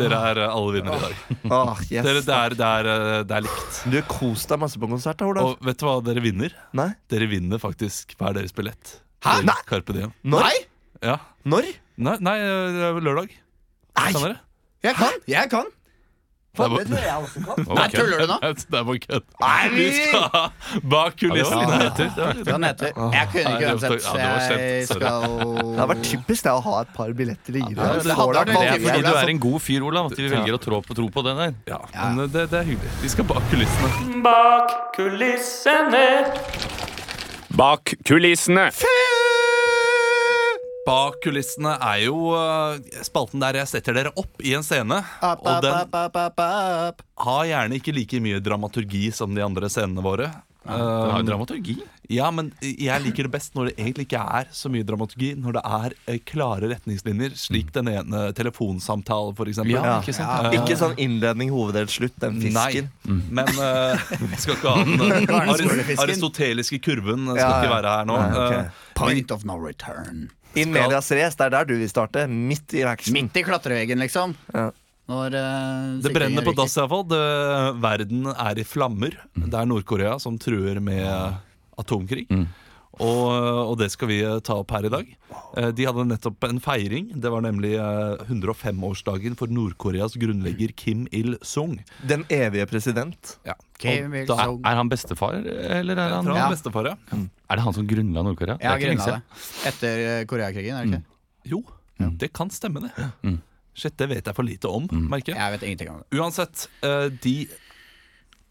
Speaker 1: Dere er eh, alle vinnere i dag.
Speaker 6: Ah,
Speaker 3: Åh, yes.
Speaker 1: Dere, det, er, det, er, eh, det er likt.
Speaker 3: Du kos deg masse på konsert, da, Olav.
Speaker 1: Og vet du hva dere vinner?
Speaker 3: Nei?
Speaker 1: Dere vinner faktisk hver deres billett. Hæ?
Speaker 3: Nei.
Speaker 1: Carpe Diem.
Speaker 3: Når?
Speaker 1: Ja.
Speaker 3: Når?
Speaker 1: Nei, nei, det er lørdag.
Speaker 3: Nei.
Speaker 1: Kan dere?
Speaker 4: Jeg kan. Jeg kan.
Speaker 1: Det er
Speaker 3: Det tror jeg også kan.
Speaker 1: bare-
Speaker 4: Nei, tuller du nå?
Speaker 1: Det er bare kødd.
Speaker 4: Nei,
Speaker 1: Vi skal ha bak kulissene.
Speaker 4: Ja,
Speaker 1: etter. Det var litt-
Speaker 4: Den heter Jeg kunne
Speaker 1: Nei,
Speaker 4: ikke
Speaker 1: det var-
Speaker 4: uansett, så
Speaker 1: ja, det var
Speaker 4: jeg
Speaker 1: slemt.
Speaker 4: skal
Speaker 3: Det har vært typisk det å ha et par billetter i
Speaker 4: Ja,
Speaker 3: grillen.
Speaker 4: det
Speaker 2: Det
Speaker 4: hadde vært
Speaker 2: er
Speaker 4: veldig
Speaker 2: fordi
Speaker 4: jævlig,
Speaker 2: du er
Speaker 4: altså.
Speaker 2: en god fyr, Olav, at vi velger å trå på, tro på den der.
Speaker 1: Ja, men det, det er hyggelig. Vi skal bak kulissene.
Speaker 8: Bak kulissene.
Speaker 5: Bak kulissene.
Speaker 1: Bak kulissene er jo uh, spalten der jeg setter dere opp i en scene.
Speaker 3: App,
Speaker 1: Og
Speaker 3: app,
Speaker 1: den
Speaker 3: app, app, app, app.
Speaker 1: har gjerne ikke like mye dramaturgi som de andre scenene våre.
Speaker 2: Den har jo
Speaker 1: Um,
Speaker 2: dramaturgi.
Speaker 1: ja, men jeg liker det best når det egentlig ikke er så mye dramaturgi. Når det er eh, klare retningslinjer, slik den ene telefonsamtalen, for eksempel.
Speaker 2: Ja,
Speaker 3: Mm. ikke
Speaker 2: ikke sant?
Speaker 3: Ikke sånn innledning, hoveddel, slutt, den
Speaker 1: Nei,
Speaker 3: fisken.
Speaker 1: men eh, vi skal ikke ha den eh, aris- aristoteliske kurven. Den skal
Speaker 3: Ja, ja.
Speaker 1: ikke være her nå.
Speaker 3: Nei, ok.
Speaker 1: Eh,
Speaker 4: Point of no return.
Speaker 3: In medias res, det er der du vil starte. Midt i action.
Speaker 4: Midt i klatreveggen, liksom.
Speaker 3: Ja.
Speaker 4: Når, eh,
Speaker 1: Det Mm. brenner på
Speaker 4: sikringen ryker.
Speaker 1: dass iallfall. Verden er i flammer. Det er Nord-Korea som truer med atomkrig. Og, og det skal vi eh, ta opp her i dag. Eh, De hadde nettopp en feiring. Det var nemlig eh, 105-årsdagen for Nord-Koreas grunnlegger Kim Il-sung.
Speaker 3: Den evige president.
Speaker 1: Ja.
Speaker 4: Kim
Speaker 1: Og
Speaker 4: Il
Speaker 1: da
Speaker 4: Sung.
Speaker 2: Er han bestefar, eller er han
Speaker 1: fra
Speaker 4: Ja.
Speaker 1: bestefar, ja.
Speaker 2: Er det han som grunnla Nord-Korea?
Speaker 4: Ja,
Speaker 2: Det er ikke lenge
Speaker 4: grunna det. Etter eh, Koreakrigen, er det ikke?
Speaker 1: Jo, det kan stemme, det. Shit, det vet jeg for lite om, merker jeg.
Speaker 4: Jeg vet ingenting om det.
Speaker 1: Uansett, eh, de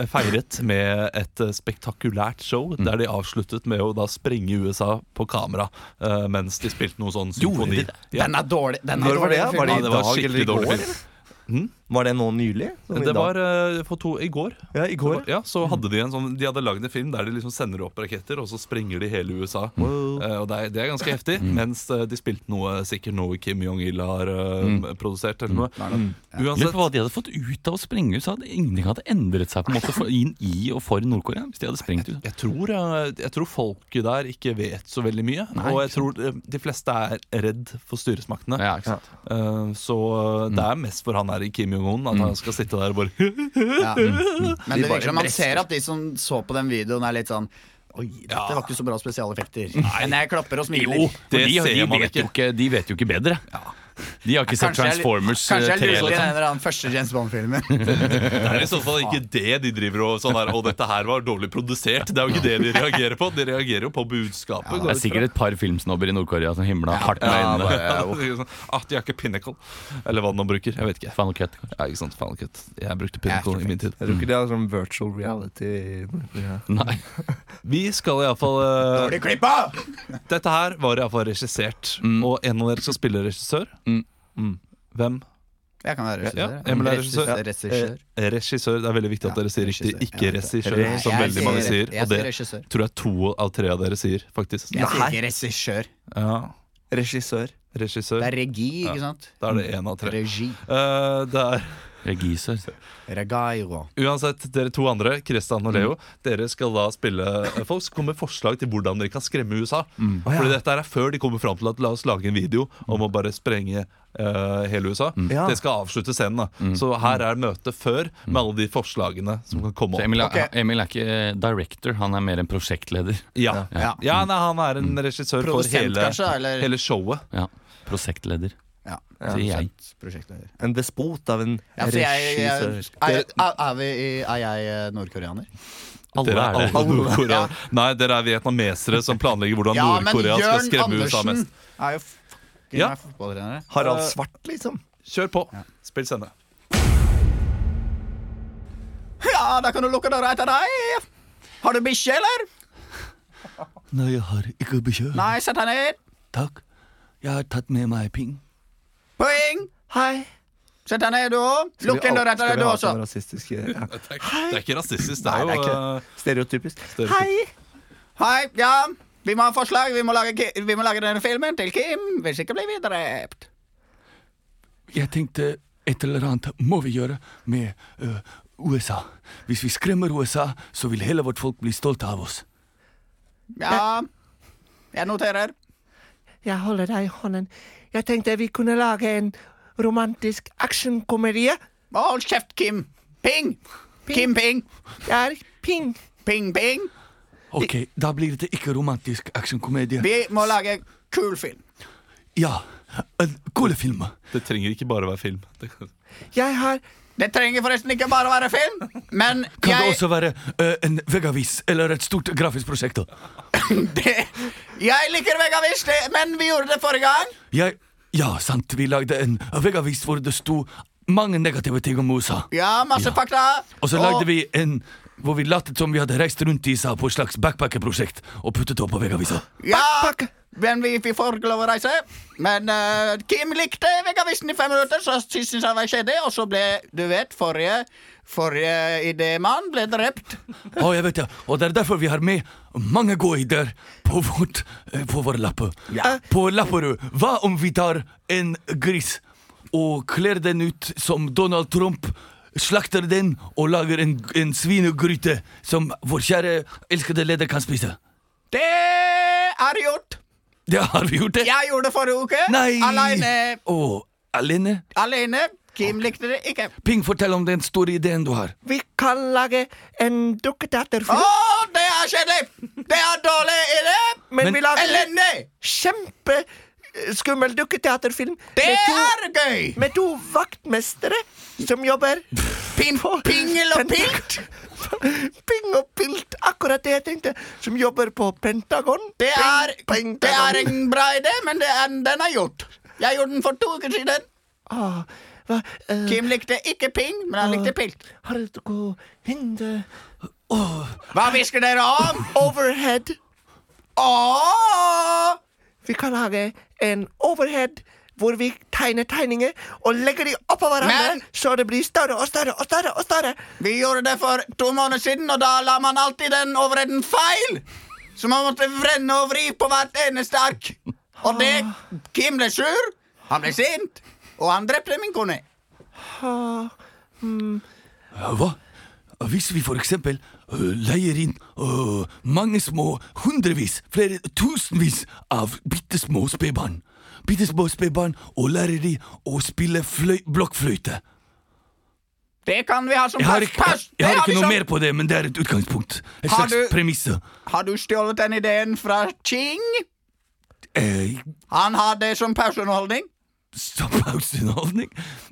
Speaker 1: feiret med et eh, spektakulært show
Speaker 3: Mm.
Speaker 1: der de avsluttet med å da sprenge USA på kamera eh, mens de spilte noe sånn symfoni. Ja,
Speaker 4: Den er dårlig. Den er
Speaker 3: Når var det?
Speaker 4: dårlig,
Speaker 3: Var det
Speaker 1: ja,
Speaker 3: i
Speaker 1: det var
Speaker 3: dag eller i
Speaker 1: skikkelig
Speaker 3: går?
Speaker 1: dårlig film.
Speaker 3: Var det nå nylig? Sånn i
Speaker 1: Det
Speaker 3: dag?
Speaker 1: var eh, for to i går.
Speaker 3: ja, i går.
Speaker 1: Ja, så hadde De en sånn De hadde lagd en film der de liksom sender opp raketter, og så sprenger de hele USA. Eh, og det er, det er ganske heftig.
Speaker 2: Mm.
Speaker 1: Mens eh, de spilte noe sikkert noe Kim Jong-il har eh, produsert, eller noe.
Speaker 2: Mm.
Speaker 1: Mm.
Speaker 2: Lurer
Speaker 1: Uansett,
Speaker 2: på hva de hadde fått ut av å sprenge USA. Det- Ingenting hadde endret seg på en måte for, inn i og for Nord-Korea. Hvis de hadde sprengt USA.
Speaker 1: Jeg tror, eh, jeg tror folket der ikke vet så veldig mye. og jeg tror eh, de fleste er redd for styresmaktene.
Speaker 2: Ja, ikke sant? Mm.
Speaker 1: Eh, Så eh, det er mest for han her i Kim Jong-un at han skal sitte der og bare
Speaker 4: Ja. Men det virker som man ser at de som så på den videoen, er litt sånn Oi, dette var ikke så bra spesialeffekter. Men jeg klapper og smiler.
Speaker 2: Jo,
Speaker 1: Det
Speaker 2: men de,
Speaker 1: ser
Speaker 2: de,
Speaker 1: man
Speaker 2: vet
Speaker 1: ikke.
Speaker 2: jo ikke, de vet jo ikke bedre. De har ikke sett
Speaker 4: Kanskje jeg-
Speaker 2: Transformers eh,
Speaker 4: Kanskje jeg
Speaker 2: 3.
Speaker 4: lurer i den
Speaker 2: Liksom.
Speaker 4: eller annen første James Bond-filmen.
Speaker 1: Det er i så fall ikke det de driver og sånn her Og dette her var dårlig produsert. Det er jo ikke det de reagerer på. De reagerer jo på budskapet.
Speaker 2: Det er
Speaker 1: går jeg ut fra.
Speaker 2: sikkert et par filmsnobber i Nord-Korea som himla hardt med
Speaker 1: Ja,
Speaker 2: øynene.
Speaker 1: bare, det er sånn, ah, de har ikke pinnacle. Eller hva den nå bruker. Jeg vet ikke.
Speaker 2: Faen, ok, kanskje.
Speaker 1: Ja, ikke sant, Faen, ikke. Jeg brukte pinnacle i min tid.
Speaker 3: Jeg tror ikke de har sånn virtual reality. Ja.
Speaker 2: Nei.
Speaker 1: Vi skal iallfall uh,
Speaker 4: Blir klippa!
Speaker 1: Dette her var iallfall regissert,
Speaker 2: Mm.
Speaker 1: og en av dere skal spille regissør. Mm. Hvem?
Speaker 4: Jeg kan være
Speaker 1: Ja,
Speaker 4: regissør.
Speaker 1: Emil er regissør.
Speaker 4: Regissør.
Speaker 1: Eh, regissør. Det er veldig viktig at dere sier riktig.
Speaker 4: regissør.
Speaker 1: Ikke
Speaker 4: Ja,
Speaker 1: regissør,
Speaker 3: regissør.
Speaker 1: Eh, som
Speaker 4: Jeg
Speaker 1: veldig mange sier.
Speaker 4: Jeg
Speaker 1: Og
Speaker 4: sier
Speaker 1: det
Speaker 4: regissør.
Speaker 1: tror jeg to av tre av dere sier, faktisk.
Speaker 4: Jeg sier ikke regissør.
Speaker 1: Ja,
Speaker 3: Regissør.
Speaker 1: regissør.
Speaker 4: Det er regi, ikke sant?
Speaker 1: Da er det én av tre.
Speaker 4: Regi.
Speaker 1: Eh, det er
Speaker 2: Regissør.
Speaker 4: Regairo.
Speaker 1: Uansett, dere to andre, Kristian og Leo, dere skal da spille eh, folk som kommer med forslag til hvordan dere kan skremme USA.
Speaker 2: Mm.
Speaker 1: Fordi dette her er før de kommer fram til at la oss lage en video om å bare sprenge eh, hele USA.
Speaker 2: Mm.
Speaker 3: Ja.
Speaker 1: Det skal avslutte scenen. da Så her er møtet før med alle de forslagene som kan komme
Speaker 2: Så
Speaker 1: opp.
Speaker 2: Emil, er- Emil er ikke eh, director, han er mer en prosjektleder.
Speaker 1: Ja, ja.
Speaker 4: Ja.
Speaker 1: nei, han er en
Speaker 2: Mm.
Speaker 1: regissør for
Speaker 4: Produsent,
Speaker 1: hele,
Speaker 4: kanskje, eller-
Speaker 1: hele showet.
Speaker 2: Ja, Prosjektleder,
Speaker 4: Ja.
Speaker 2: sier jeg.
Speaker 4: Prosjektleder.
Speaker 3: En despot av en
Speaker 4: Ja, for jeg, jeg,
Speaker 3: regissør.
Speaker 4: er, er, er, vi, i- er jeg eh, nordkoreaner?
Speaker 2: Alle
Speaker 1: Dere
Speaker 2: er
Speaker 1: er
Speaker 2: det.
Speaker 1: alle Nord-Korea.
Speaker 4: Ja.
Speaker 1: Nei, dere er vietnamesere som planlegger hvordan Nord-Korea skal skremme USA mest.
Speaker 4: er jo fucking
Speaker 1: Ja.
Speaker 4: meg fotballtrener.
Speaker 3: Harald Svart, liksom.
Speaker 1: Kjør på. Spill scene.
Speaker 4: Ja, da kan du lukke døra etter deg! Har du bikkje, eller?
Speaker 1: Nei, jeg har ikke bekymring.
Speaker 4: Nei, sett deg ned.
Speaker 1: Takk.
Speaker 8: Jeg har tatt med meg ping.
Speaker 4: Poeng!
Speaker 6: Hei.
Speaker 4: Sett deg ned, du òg.
Speaker 6: Skal vi
Speaker 4: Lukk den
Speaker 6: al-
Speaker 4: døra etter
Speaker 6: skal
Speaker 4: deg,
Speaker 6: vi
Speaker 4: du
Speaker 6: ha
Speaker 4: også.
Speaker 6: sånn rasistisk ja.
Speaker 1: Det er ikke- det er ikke rasistisk. Det
Speaker 6: Nei,
Speaker 1: er
Speaker 6: det er
Speaker 1: jo
Speaker 6: ikke
Speaker 1: eh,
Speaker 6: Stereotypisk.
Speaker 1: stereotypisk.
Speaker 6: Hei!
Speaker 4: Hei, ja. Vi må ha forslag. Vi må lage, ki- vi må lage denne filmen til Kim, hvis ikke blir vi drept.
Speaker 8: Jeg tenkte et eller annet må vi gjøre med øh, USA. Hvis vi skremmer USA, så vil hele vårt folk bli stolte av oss.
Speaker 4: Ja. Jeg noterer.
Speaker 6: Jeg holder deg i hånden. Jeg tenkte vi kunne lage en romantisk actionkomedie.
Speaker 4: Å, Hold kjeft, Kim. Ping! Kim Ping.
Speaker 6: Det er ping.
Speaker 4: Ping Ping.
Speaker 8: Ok, da blir det ikke romantisk actionkomedie.
Speaker 4: Vi må lage kul film.
Speaker 8: Ja, en kule film.
Speaker 1: Det trenger ikke bare være film. Det kan-
Speaker 6: Jeg har
Speaker 4: Det trenger forresten ikke bare å være film, men
Speaker 8: Kan det
Speaker 4: jeg
Speaker 8: også være øh, en veggavis eller et stort grafisk prosjekt?
Speaker 4: det, Jeg liker Vegavis, det- men vi gjorde det forrige gang.
Speaker 8: Jeg, ja, sant, vi lagde en veggavis hvor det sto mange negative ting om USA.
Speaker 4: Ja, masse
Speaker 8: Ja.
Speaker 4: fakta.
Speaker 8: Og så lagde vi en hvor vi latet som vi hadde reist rundt i USA på et slags backpackerprosjekt og puttet det opp på veggavisa.
Speaker 4: Ja, men vi, vi får ikke lov å reise. Men eh, Kim likte Vegavisen i fem minutter, så syntes han det var kjedelig. Og så ble, du vet, forrige, forrige idémann ble drept.
Speaker 8: Å, jeg vet det. Og det er derfor vi har med mange gode ideer på, vårt, eh, på vår lappe. På Lapperud. Hva om vi tar en gris og kler den ut som Donald Trump, slakter den og lager en, en svinegryte som vår kjære elskede leder kan spise?
Speaker 4: Det er gjort.
Speaker 8: Det har vi gjort, det.
Speaker 4: Jeg gjorde det forrige uke.
Speaker 8: Nei!
Speaker 4: Alene.
Speaker 8: Å, alene?
Speaker 4: Alene. Kim likte det ikke.
Speaker 8: Ping, fortell om den store ideen du har.
Speaker 6: Vi kan lage en
Speaker 4: Å,
Speaker 6: dukketeaterfilm.
Speaker 4: det er kjedelig! Det er dårlig idé!
Speaker 6: Men,
Speaker 8: Men-
Speaker 6: vi lager en
Speaker 4: Elendig!
Speaker 6: kjempeskummel dukketeaterfilm
Speaker 4: Det
Speaker 6: med to,
Speaker 4: er gøy!
Speaker 6: med to vaktmestere som jobber
Speaker 4: Pin, pingel og pilt.
Speaker 6: Ping og pilt, akkurat det jeg tenkte. Som jobber på Pentagon.
Speaker 4: Det er,
Speaker 6: Ping,
Speaker 4: det
Speaker 6: Pentagon.
Speaker 4: er en bra idé, men det er, den er gjort. Jeg gjorde den for to uker siden.
Speaker 6: Ah, hva, eh,
Speaker 4: Kim likte ikke ping, men han likte pilt.
Speaker 6: Har du noe hinde?
Speaker 4: Hva hvisker dere om?
Speaker 6: Overhead.
Speaker 4: Åh!
Speaker 6: Vi kan lage en overhead hvor vi tegner tegninger og legger de oppå hverandre,
Speaker 4: Men-
Speaker 6: så det blir større og større og større. og større.
Speaker 4: Vi gjorde det for to måneder siden, og da la man alltid den overheden feil. Så man måtte vrenne og vri på hvert eneste ark. Og det Kim ble sur, han ble sint, og han drepte min kone.
Speaker 8: Ja, Ah, Hva? Hvis vi for eksempel øh, leier inn øh, mange små, hundrevis, flere tusenvis av bitte små spedbarn Bitte små spedbarn, og lærer de å spille fløy blokkfløyte.
Speaker 4: Det kan vi ha som
Speaker 8: Jeg har
Speaker 4: pass.
Speaker 8: ikke,
Speaker 4: pass.
Speaker 8: jeg har
Speaker 4: Det
Speaker 8: ikke
Speaker 4: vi
Speaker 8: noe
Speaker 4: som-
Speaker 8: mer på det, men det er et utgangspunkt. Et
Speaker 4: Har
Speaker 8: slags
Speaker 4: du-
Speaker 8: premisse.
Speaker 4: Har du stjålet den ideen fra Ching?
Speaker 8: Eh,
Speaker 4: Han har det som pauseunderholdning.
Speaker 8: som pauseunderholdning?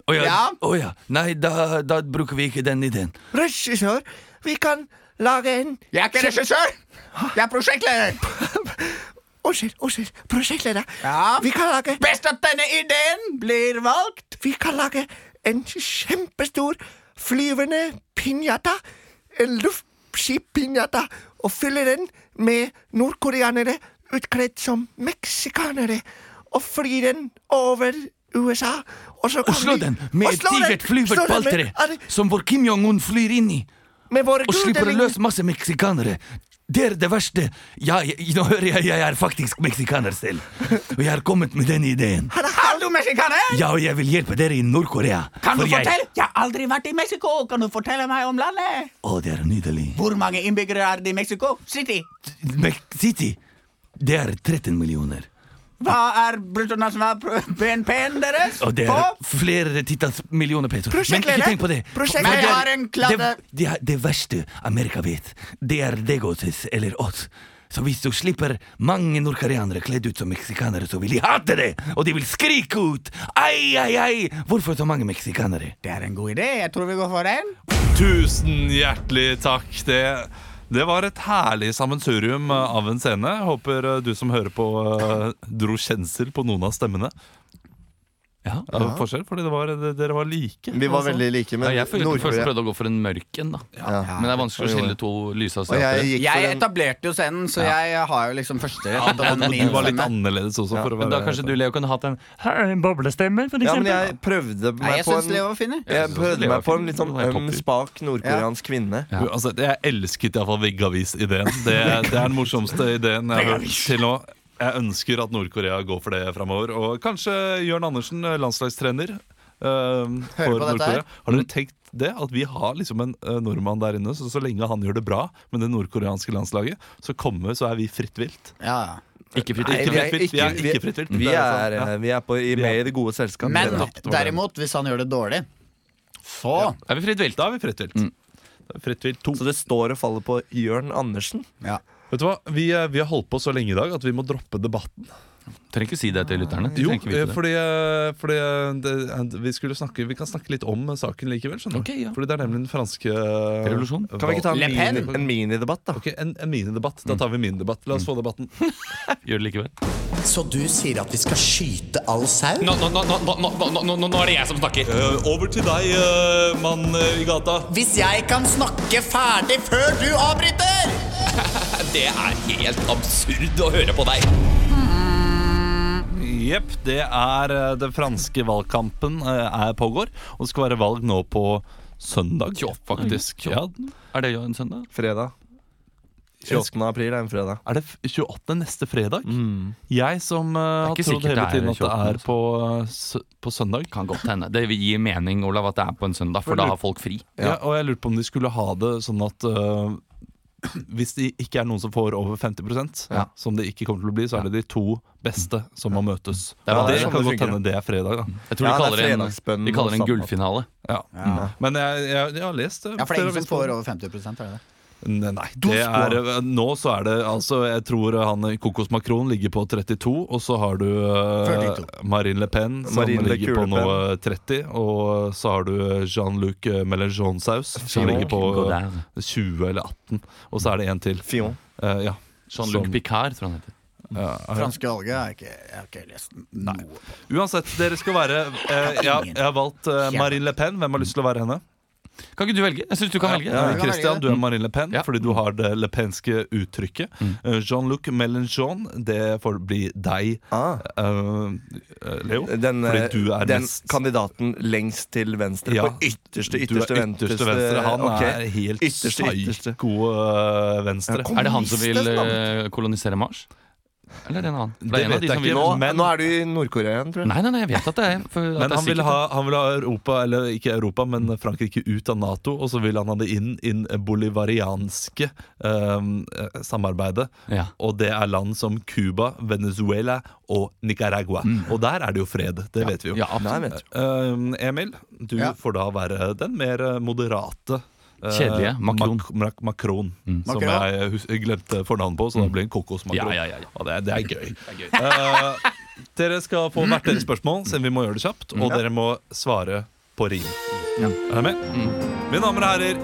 Speaker 8: Å ja.
Speaker 4: Ja.
Speaker 8: å ja. Nei, da, da bruker vi ikke den ideen.
Speaker 6: Regissør, vi kan lage en
Speaker 4: Jeg er ikke regissør. Jeg er prosjektleder.
Speaker 6: Unnskyld, unnskyld, prosjektleder.
Speaker 4: Ja.
Speaker 6: Vi, kan lage,
Speaker 4: Best at denne ideen blir valgt.
Speaker 6: vi kan lage en kjempestor flyvende pinjata. En luftskip-pinjata. Og fylle den med nordkoreanere utkledd som meksikanere. Og fly den over USA. Og, så
Speaker 8: Og
Speaker 6: kan
Speaker 8: slå
Speaker 6: vi-
Speaker 8: den med
Speaker 6: og
Speaker 8: et
Speaker 6: slå den-
Speaker 8: digert
Speaker 6: slå
Speaker 8: flyvert
Speaker 6: den med-
Speaker 8: balltre
Speaker 6: er det-
Speaker 8: som vår Kim Jong-un flyr inn i.
Speaker 6: Med våre
Speaker 8: Og slipper
Speaker 6: gudelignende-
Speaker 8: løs masse meksikanere. Det er det verste. Ja, jeg, nå hører jeg jeg er faktisk meksikaner selv. Og jeg har kommet med den ideen.
Speaker 4: Er du meksikaner?
Speaker 8: Ja, og jeg vil hjelpe dere i Nord-Korea.
Speaker 4: Kan du
Speaker 8: For jeg-
Speaker 4: fortelle? Jeg har aldri vært i Mexico. Kan du fortelle meg om landet?
Speaker 8: Å, det er nydelig.
Speaker 4: Hvor mange innbyggere er det i Mexico City?
Speaker 8: Mek- City, det er 13 millioner.
Speaker 4: Hva er bruttonasjonal-BNP-en deres?
Speaker 8: Og det er
Speaker 4: På?
Speaker 8: flere titalls millioner peso. Men ikke
Speaker 6: Prosjektleder.
Speaker 8: tenk på det.
Speaker 6: Prosjektleder.
Speaker 8: Men det er-
Speaker 4: Jeg har en kladde.
Speaker 8: Det, det, er det verste Amerika vet, det er Degotes eller oss. Så hvis du slipper mange nordkoreanere kledd ut som meksikanere, så vil de hate det! Og de vil skrike ut! Ai, ai, ai! Hvorfor så mange meksikanere?
Speaker 4: Det er en god idé. Jeg tror vi går for den.
Speaker 1: Tusen hjertelig takk. Det, det var et herlig sammensurium eh, av en scene. Jeg Håper eh, du som hører på, eh, dro kjensel på noen av stemmene.
Speaker 2: Ja,
Speaker 1: Det var forskjell, fordi det var, det, dere var like. altså.
Speaker 3: Vi var veldig like, men
Speaker 2: ja, jeg følte først
Speaker 3: Nord-Korea
Speaker 2: prøvde å gå for en mørk en, da.
Speaker 3: Ja.
Speaker 2: Men det er vanskelig å skille to lyse
Speaker 3: Og jeg
Speaker 2: asiatere.
Speaker 3: gikk for
Speaker 4: Jeg
Speaker 3: den
Speaker 4: etablerte jo scenen, så jeg har jo liksom førsterett. og den er
Speaker 1: Du
Speaker 4: min
Speaker 1: var litt
Speaker 4: stemme.
Speaker 1: annerledes også. For
Speaker 2: Men
Speaker 1: å være,
Speaker 2: da kanskje du, Leo, kunne hatt en Her er en boblestemme, for
Speaker 3: Ja, men
Speaker 2: eksempel.
Speaker 3: jeg prøvde
Speaker 4: Nei,
Speaker 3: meg
Speaker 4: jeg
Speaker 3: på
Speaker 4: syns
Speaker 3: en
Speaker 4: Leo var fin, jeg.
Speaker 3: Jeg
Speaker 1: synes også
Speaker 3: prøvde
Speaker 1: Leo
Speaker 3: meg
Speaker 1: er
Speaker 3: på
Speaker 1: fin.
Speaker 3: en litt sånn
Speaker 1: Det var helt
Speaker 3: øm,
Speaker 1: topp.
Speaker 3: spak nordkoreansk kvinne.
Speaker 2: Ja.
Speaker 1: Du, altså, jeg elsket iallfall veggavis-ideen. Det, det er den morsomste ideen jeg har hørt til nå. Jeg ønsker at Nord-Korea går for det framover. Og kanskje Jørn Andersen, landslagstrener øhm,
Speaker 4: Hører
Speaker 1: for
Speaker 4: på dette
Speaker 1: Nord-Korea.
Speaker 4: her?
Speaker 1: Har dere tenkt det? At vi har liksom en øh, nordmann der inne, så så lenge han gjør det bra med det nordkoreanske landslaget, så kommer, så er vi fritt vilt.
Speaker 4: Ja, ja.
Speaker 2: Ikke fritt.
Speaker 3: Nei,
Speaker 2: Ikke fritt.
Speaker 1: Ikke fritt vilt. Vi er ikke fritt vilt.
Speaker 3: Vi
Speaker 1: Det
Speaker 3: er,
Speaker 1: sånn, ja.
Speaker 3: eh, vi er på, i, med i det gode selskap.
Speaker 4: Men
Speaker 3: Dere.
Speaker 4: derimot, hvis han gjør det dårlig, så
Speaker 2: Er vi fritt vilt?
Speaker 1: Da er vi fritt vilt. Da er vi fritt vilt to.
Speaker 3: Så det står og faller på Jørn Andersen.
Speaker 4: ja.
Speaker 1: Vet du hva? Vi, eh, vi har holdt på så lenge i dag at vi må droppe debatten.
Speaker 2: Trenger ikke si det til lytterne. De
Speaker 1: Jo,
Speaker 2: trenger ikke vite
Speaker 1: eh,
Speaker 2: det.
Speaker 1: fordi, eh, fordi eh, det, vi, skulle snakke, vi kan snakke litt om eh, saken likevel. skjønner du?
Speaker 2: Ok, ja.
Speaker 1: Fordi det er nemlig den franske eh,
Speaker 2: Revolusjon.
Speaker 3: Kan vi ikke ta en,
Speaker 4: Le Pen?
Speaker 3: mini, en minidebatt, da?
Speaker 1: Ok, en, en minidebatt. Da tar vi minidebatt. La oss få debatten.
Speaker 2: Gjør det likevel.
Speaker 9: Så du sier at vi skal skyte all sau?
Speaker 5: Nå, nå, nå, nå, nå, nå, nå, nå er det jeg som snakker.
Speaker 1: Eh, over til deg, eh, mann i gata.
Speaker 9: Hvis jeg kan snakke ferdig før du avbryter!
Speaker 5: Det er helt absurd å høre på deg.
Speaker 1: Jepp. Det er eh, den franske valgkampen eh, er pågår. Og det skal være valg nå på søndag, faktisk. Ja.
Speaker 2: Er det jo en søndag?
Speaker 3: Fredag. 28. april er en fredag.
Speaker 1: Er det f- 28. neste fredag? Jeg som eh, har
Speaker 2: ikke
Speaker 1: trodd
Speaker 2: sikkert
Speaker 1: hele
Speaker 2: det er
Speaker 1: tiden at det
Speaker 2: 28.,
Speaker 1: er på, eh, sø- på søndag.
Speaker 2: Kan godt hende. Det vil gi mening, Olav, at det er på en søndag, for da har folk fri.
Speaker 1: Ja. og jeg lurte på om de skulle ha det sånn at øh, hvis det ikke er noen som får over 50 som det ikke kommer til å bli, så er det de to beste som må møtes.
Speaker 2: er
Speaker 1: Ja,
Speaker 2: bare
Speaker 1: det
Speaker 2: sånn
Speaker 1: kan
Speaker 3: det
Speaker 1: godt
Speaker 3: funker.
Speaker 1: hende det er fredag, da.
Speaker 2: Jeg tror de
Speaker 3: Ja, det er
Speaker 2: kaller det en,
Speaker 3: fredagsbønnen
Speaker 2: de kaller det en
Speaker 3: og
Speaker 2: gullfinale.
Speaker 1: Ja. Men jeg, jeg, jeg har lest
Speaker 4: Ja, for det er ingen som får over 50 er det det?
Speaker 1: Nei, nei, det er, eh, nå så er det altså Jeg tror han i Kokos Makron ligger på 32, og så har du øh,
Speaker 4: 42.
Speaker 1: Marine Le Pen som
Speaker 3: Marine Le
Speaker 1: ligger på
Speaker 3: Kule
Speaker 1: noe 30, og så har du eh, Jean-Luc Mélenchon-saus som ligger på øh, 20 eller 18, og så er det en til.
Speaker 3: Fion.
Speaker 1: Eh, ja.
Speaker 2: Jean-Luc
Speaker 1: Som-
Speaker 2: Sånn
Speaker 1: eh,
Speaker 2: Picard, tror jeg han heter.
Speaker 4: Franske valget har jeg ikke, jeg har ikke lest noe.
Speaker 1: Uansett, dere skal være eh, jeg, jeg har valgt eh, Marine Le Pen. Hvem har lyst til å være henne?
Speaker 2: Kan ikke du velge? Jeg syns du kan velge.
Speaker 1: Eh,
Speaker 4: jeg kan
Speaker 1: Christian,
Speaker 4: velge.
Speaker 1: du er Marine Le Pen
Speaker 2: Ja.
Speaker 1: fordi du har det lepenske uttrykket.
Speaker 3: Mm.
Speaker 1: Eh, Jean-Luc Mélenchon, det får bli deg,
Speaker 3: Ah.
Speaker 1: eh, eh, Leo.
Speaker 3: Den, eh,
Speaker 1: fordi du er
Speaker 3: den
Speaker 1: mest
Speaker 3: kandidaten lengst til venstre.
Speaker 1: Ja.
Speaker 3: På ytterste,
Speaker 1: Du er
Speaker 3: ytterste, eh,
Speaker 1: ytterste venstre. Han
Speaker 3: Ok.
Speaker 1: er helt
Speaker 3: Ytterste, ytterste.
Speaker 1: psyko eh, venstre.
Speaker 2: Er det han som vil eh, kolonisere Mars? Eller en annen? For
Speaker 1: Det
Speaker 2: er en av
Speaker 1: vet
Speaker 2: de
Speaker 1: jeg
Speaker 2: som
Speaker 1: ikke
Speaker 2: vil-
Speaker 3: Nå,
Speaker 1: Men-
Speaker 3: nå er du i Nord-Korea igjen, tror jeg.
Speaker 2: Nei, nei, nei, jeg vet at det er, for, at
Speaker 1: Men
Speaker 2: det er
Speaker 1: han vil,
Speaker 2: sikkert
Speaker 1: ha, han vil ha Europa, eller ikke Europa, men Frankrike ut av Nato. Og så vil han ha det inn i det bolivarianske ehm, eh, samarbeidet.
Speaker 2: Ja.
Speaker 1: Og det er land som Cuba, Venezuela og Nicaragua. Og der er det jo fred. Det vet vi jo.
Speaker 2: Mm. Ja, absolutt.
Speaker 3: Nei, vet du.
Speaker 1: Ehm, Emil, du
Speaker 4: Ja.
Speaker 1: får da være den mer eh, moderate. eh,
Speaker 2: Kjedelige Macron. Mm.
Speaker 1: Mac Mac Macron, som
Speaker 4: Macron.
Speaker 1: jeg hus- glemte fornavnet på, så da ble det en kokosmakron.
Speaker 2: Ja, ja, ja, ja.
Speaker 1: Og det, er- det er gøy. Eh, dere skal få hvert deres spørsmål, siden vi må gjøre det kjapt.
Speaker 2: Mm.
Speaker 1: Og dere må svare på rim. Er dere med?
Speaker 2: Mm.
Speaker 1: Mine damer og herrer,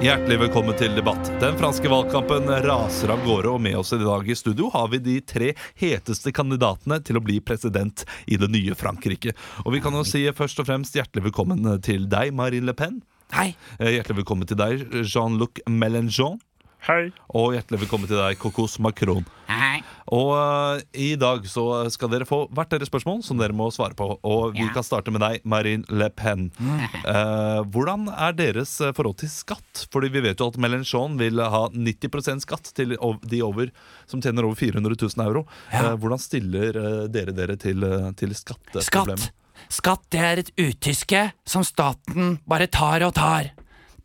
Speaker 1: hjertelig velkommen til debatt. Den franske valgkampen raser av gårde, og med oss i dag i studio har vi de tre heteste kandidatene til å bli president i det nye Frankrike. Og vi kan jo si først og fremst hjertelig velkommen til deg, Marine Le Pen.
Speaker 2: Hei.
Speaker 1: Eh, Hjertelig velkommen til deg, Jean-Luc Mélenchon.
Speaker 5: Hei.
Speaker 1: Og hjertelig velkommen til deg, Kokos Macron. Og eh, i dag så skal dere få hvert deres spørsmål som dere må svare på. Og vi kan starte med deg, Marine Le Pen. Eh, hvordan er deres eh, forhold til skatt? Fordi vi vet jo at Mélenchon vil ha 90 skatt til ov- de over, som tjener over 400 000 euro. Eh, hvordan stiller eh, dere dere til, eh, til skatteproblemet?
Speaker 8: Skatt. Skatt, det er et utyske som staten bare tar og tar.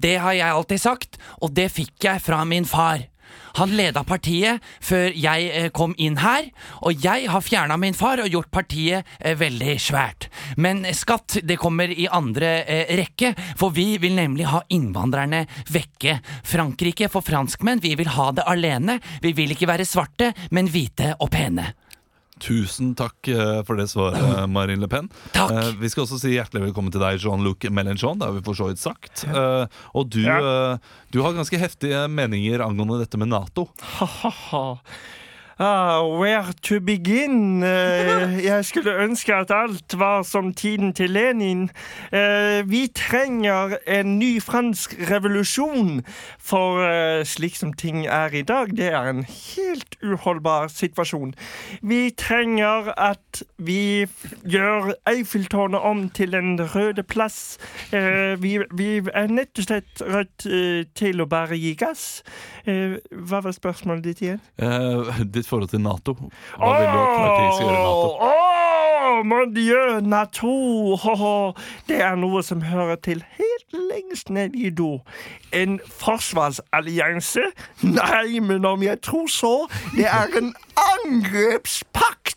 Speaker 8: Det har jeg alltid sagt, og det fikk jeg fra min far. Han leda partiet før jeg eh, kom inn her, og jeg har fjerna min far og gjort partiet eh, veldig svært. Men skatt, det kommer i andre eh, rekke, for vi vil nemlig ha innvandrerne vekke. Frankrike for franskmenn, vi vil ha det alene. Vi vil ikke være svarte, men hvite og pene.
Speaker 1: Tusen takk eh, for det svaret, eh, Marine Le Pen.
Speaker 8: Takk.
Speaker 1: Eh, vi skal også si hjertelig velkommen til deg, Jean-Luc Mélenchon. Det har vi for så vidt sagt. Eh, og du, eh, du har ganske heftige meninger angående dette med Nato.
Speaker 5: Ha-ha-ha.
Speaker 10: Ah, where to begin? Eh, jeg skulle ønske at alt var som tiden til Lenin. Eh, vi trenger en ny fransk revolusjon, for eh, slik som ting er i dag, det er en helt uholdbar situasjon. Vi trenger at vi f- gjør Eiffeltårnet om til en røde plass. Eh, vi, vi er nett og slett rødt eh, til å bare gi gass. Eh, hva var spørsmålet ditt igjen?
Speaker 1: Eh, ditt forhold til Nato. Hva vil du karakterisere Nato?
Speaker 10: Åh, mon dieu, Nato! Haha. Det er noe som hører til helt lengst ned i do. En forsvarsallianse? Nei, men om jeg tror så.
Speaker 3: Det er en angrepspakt!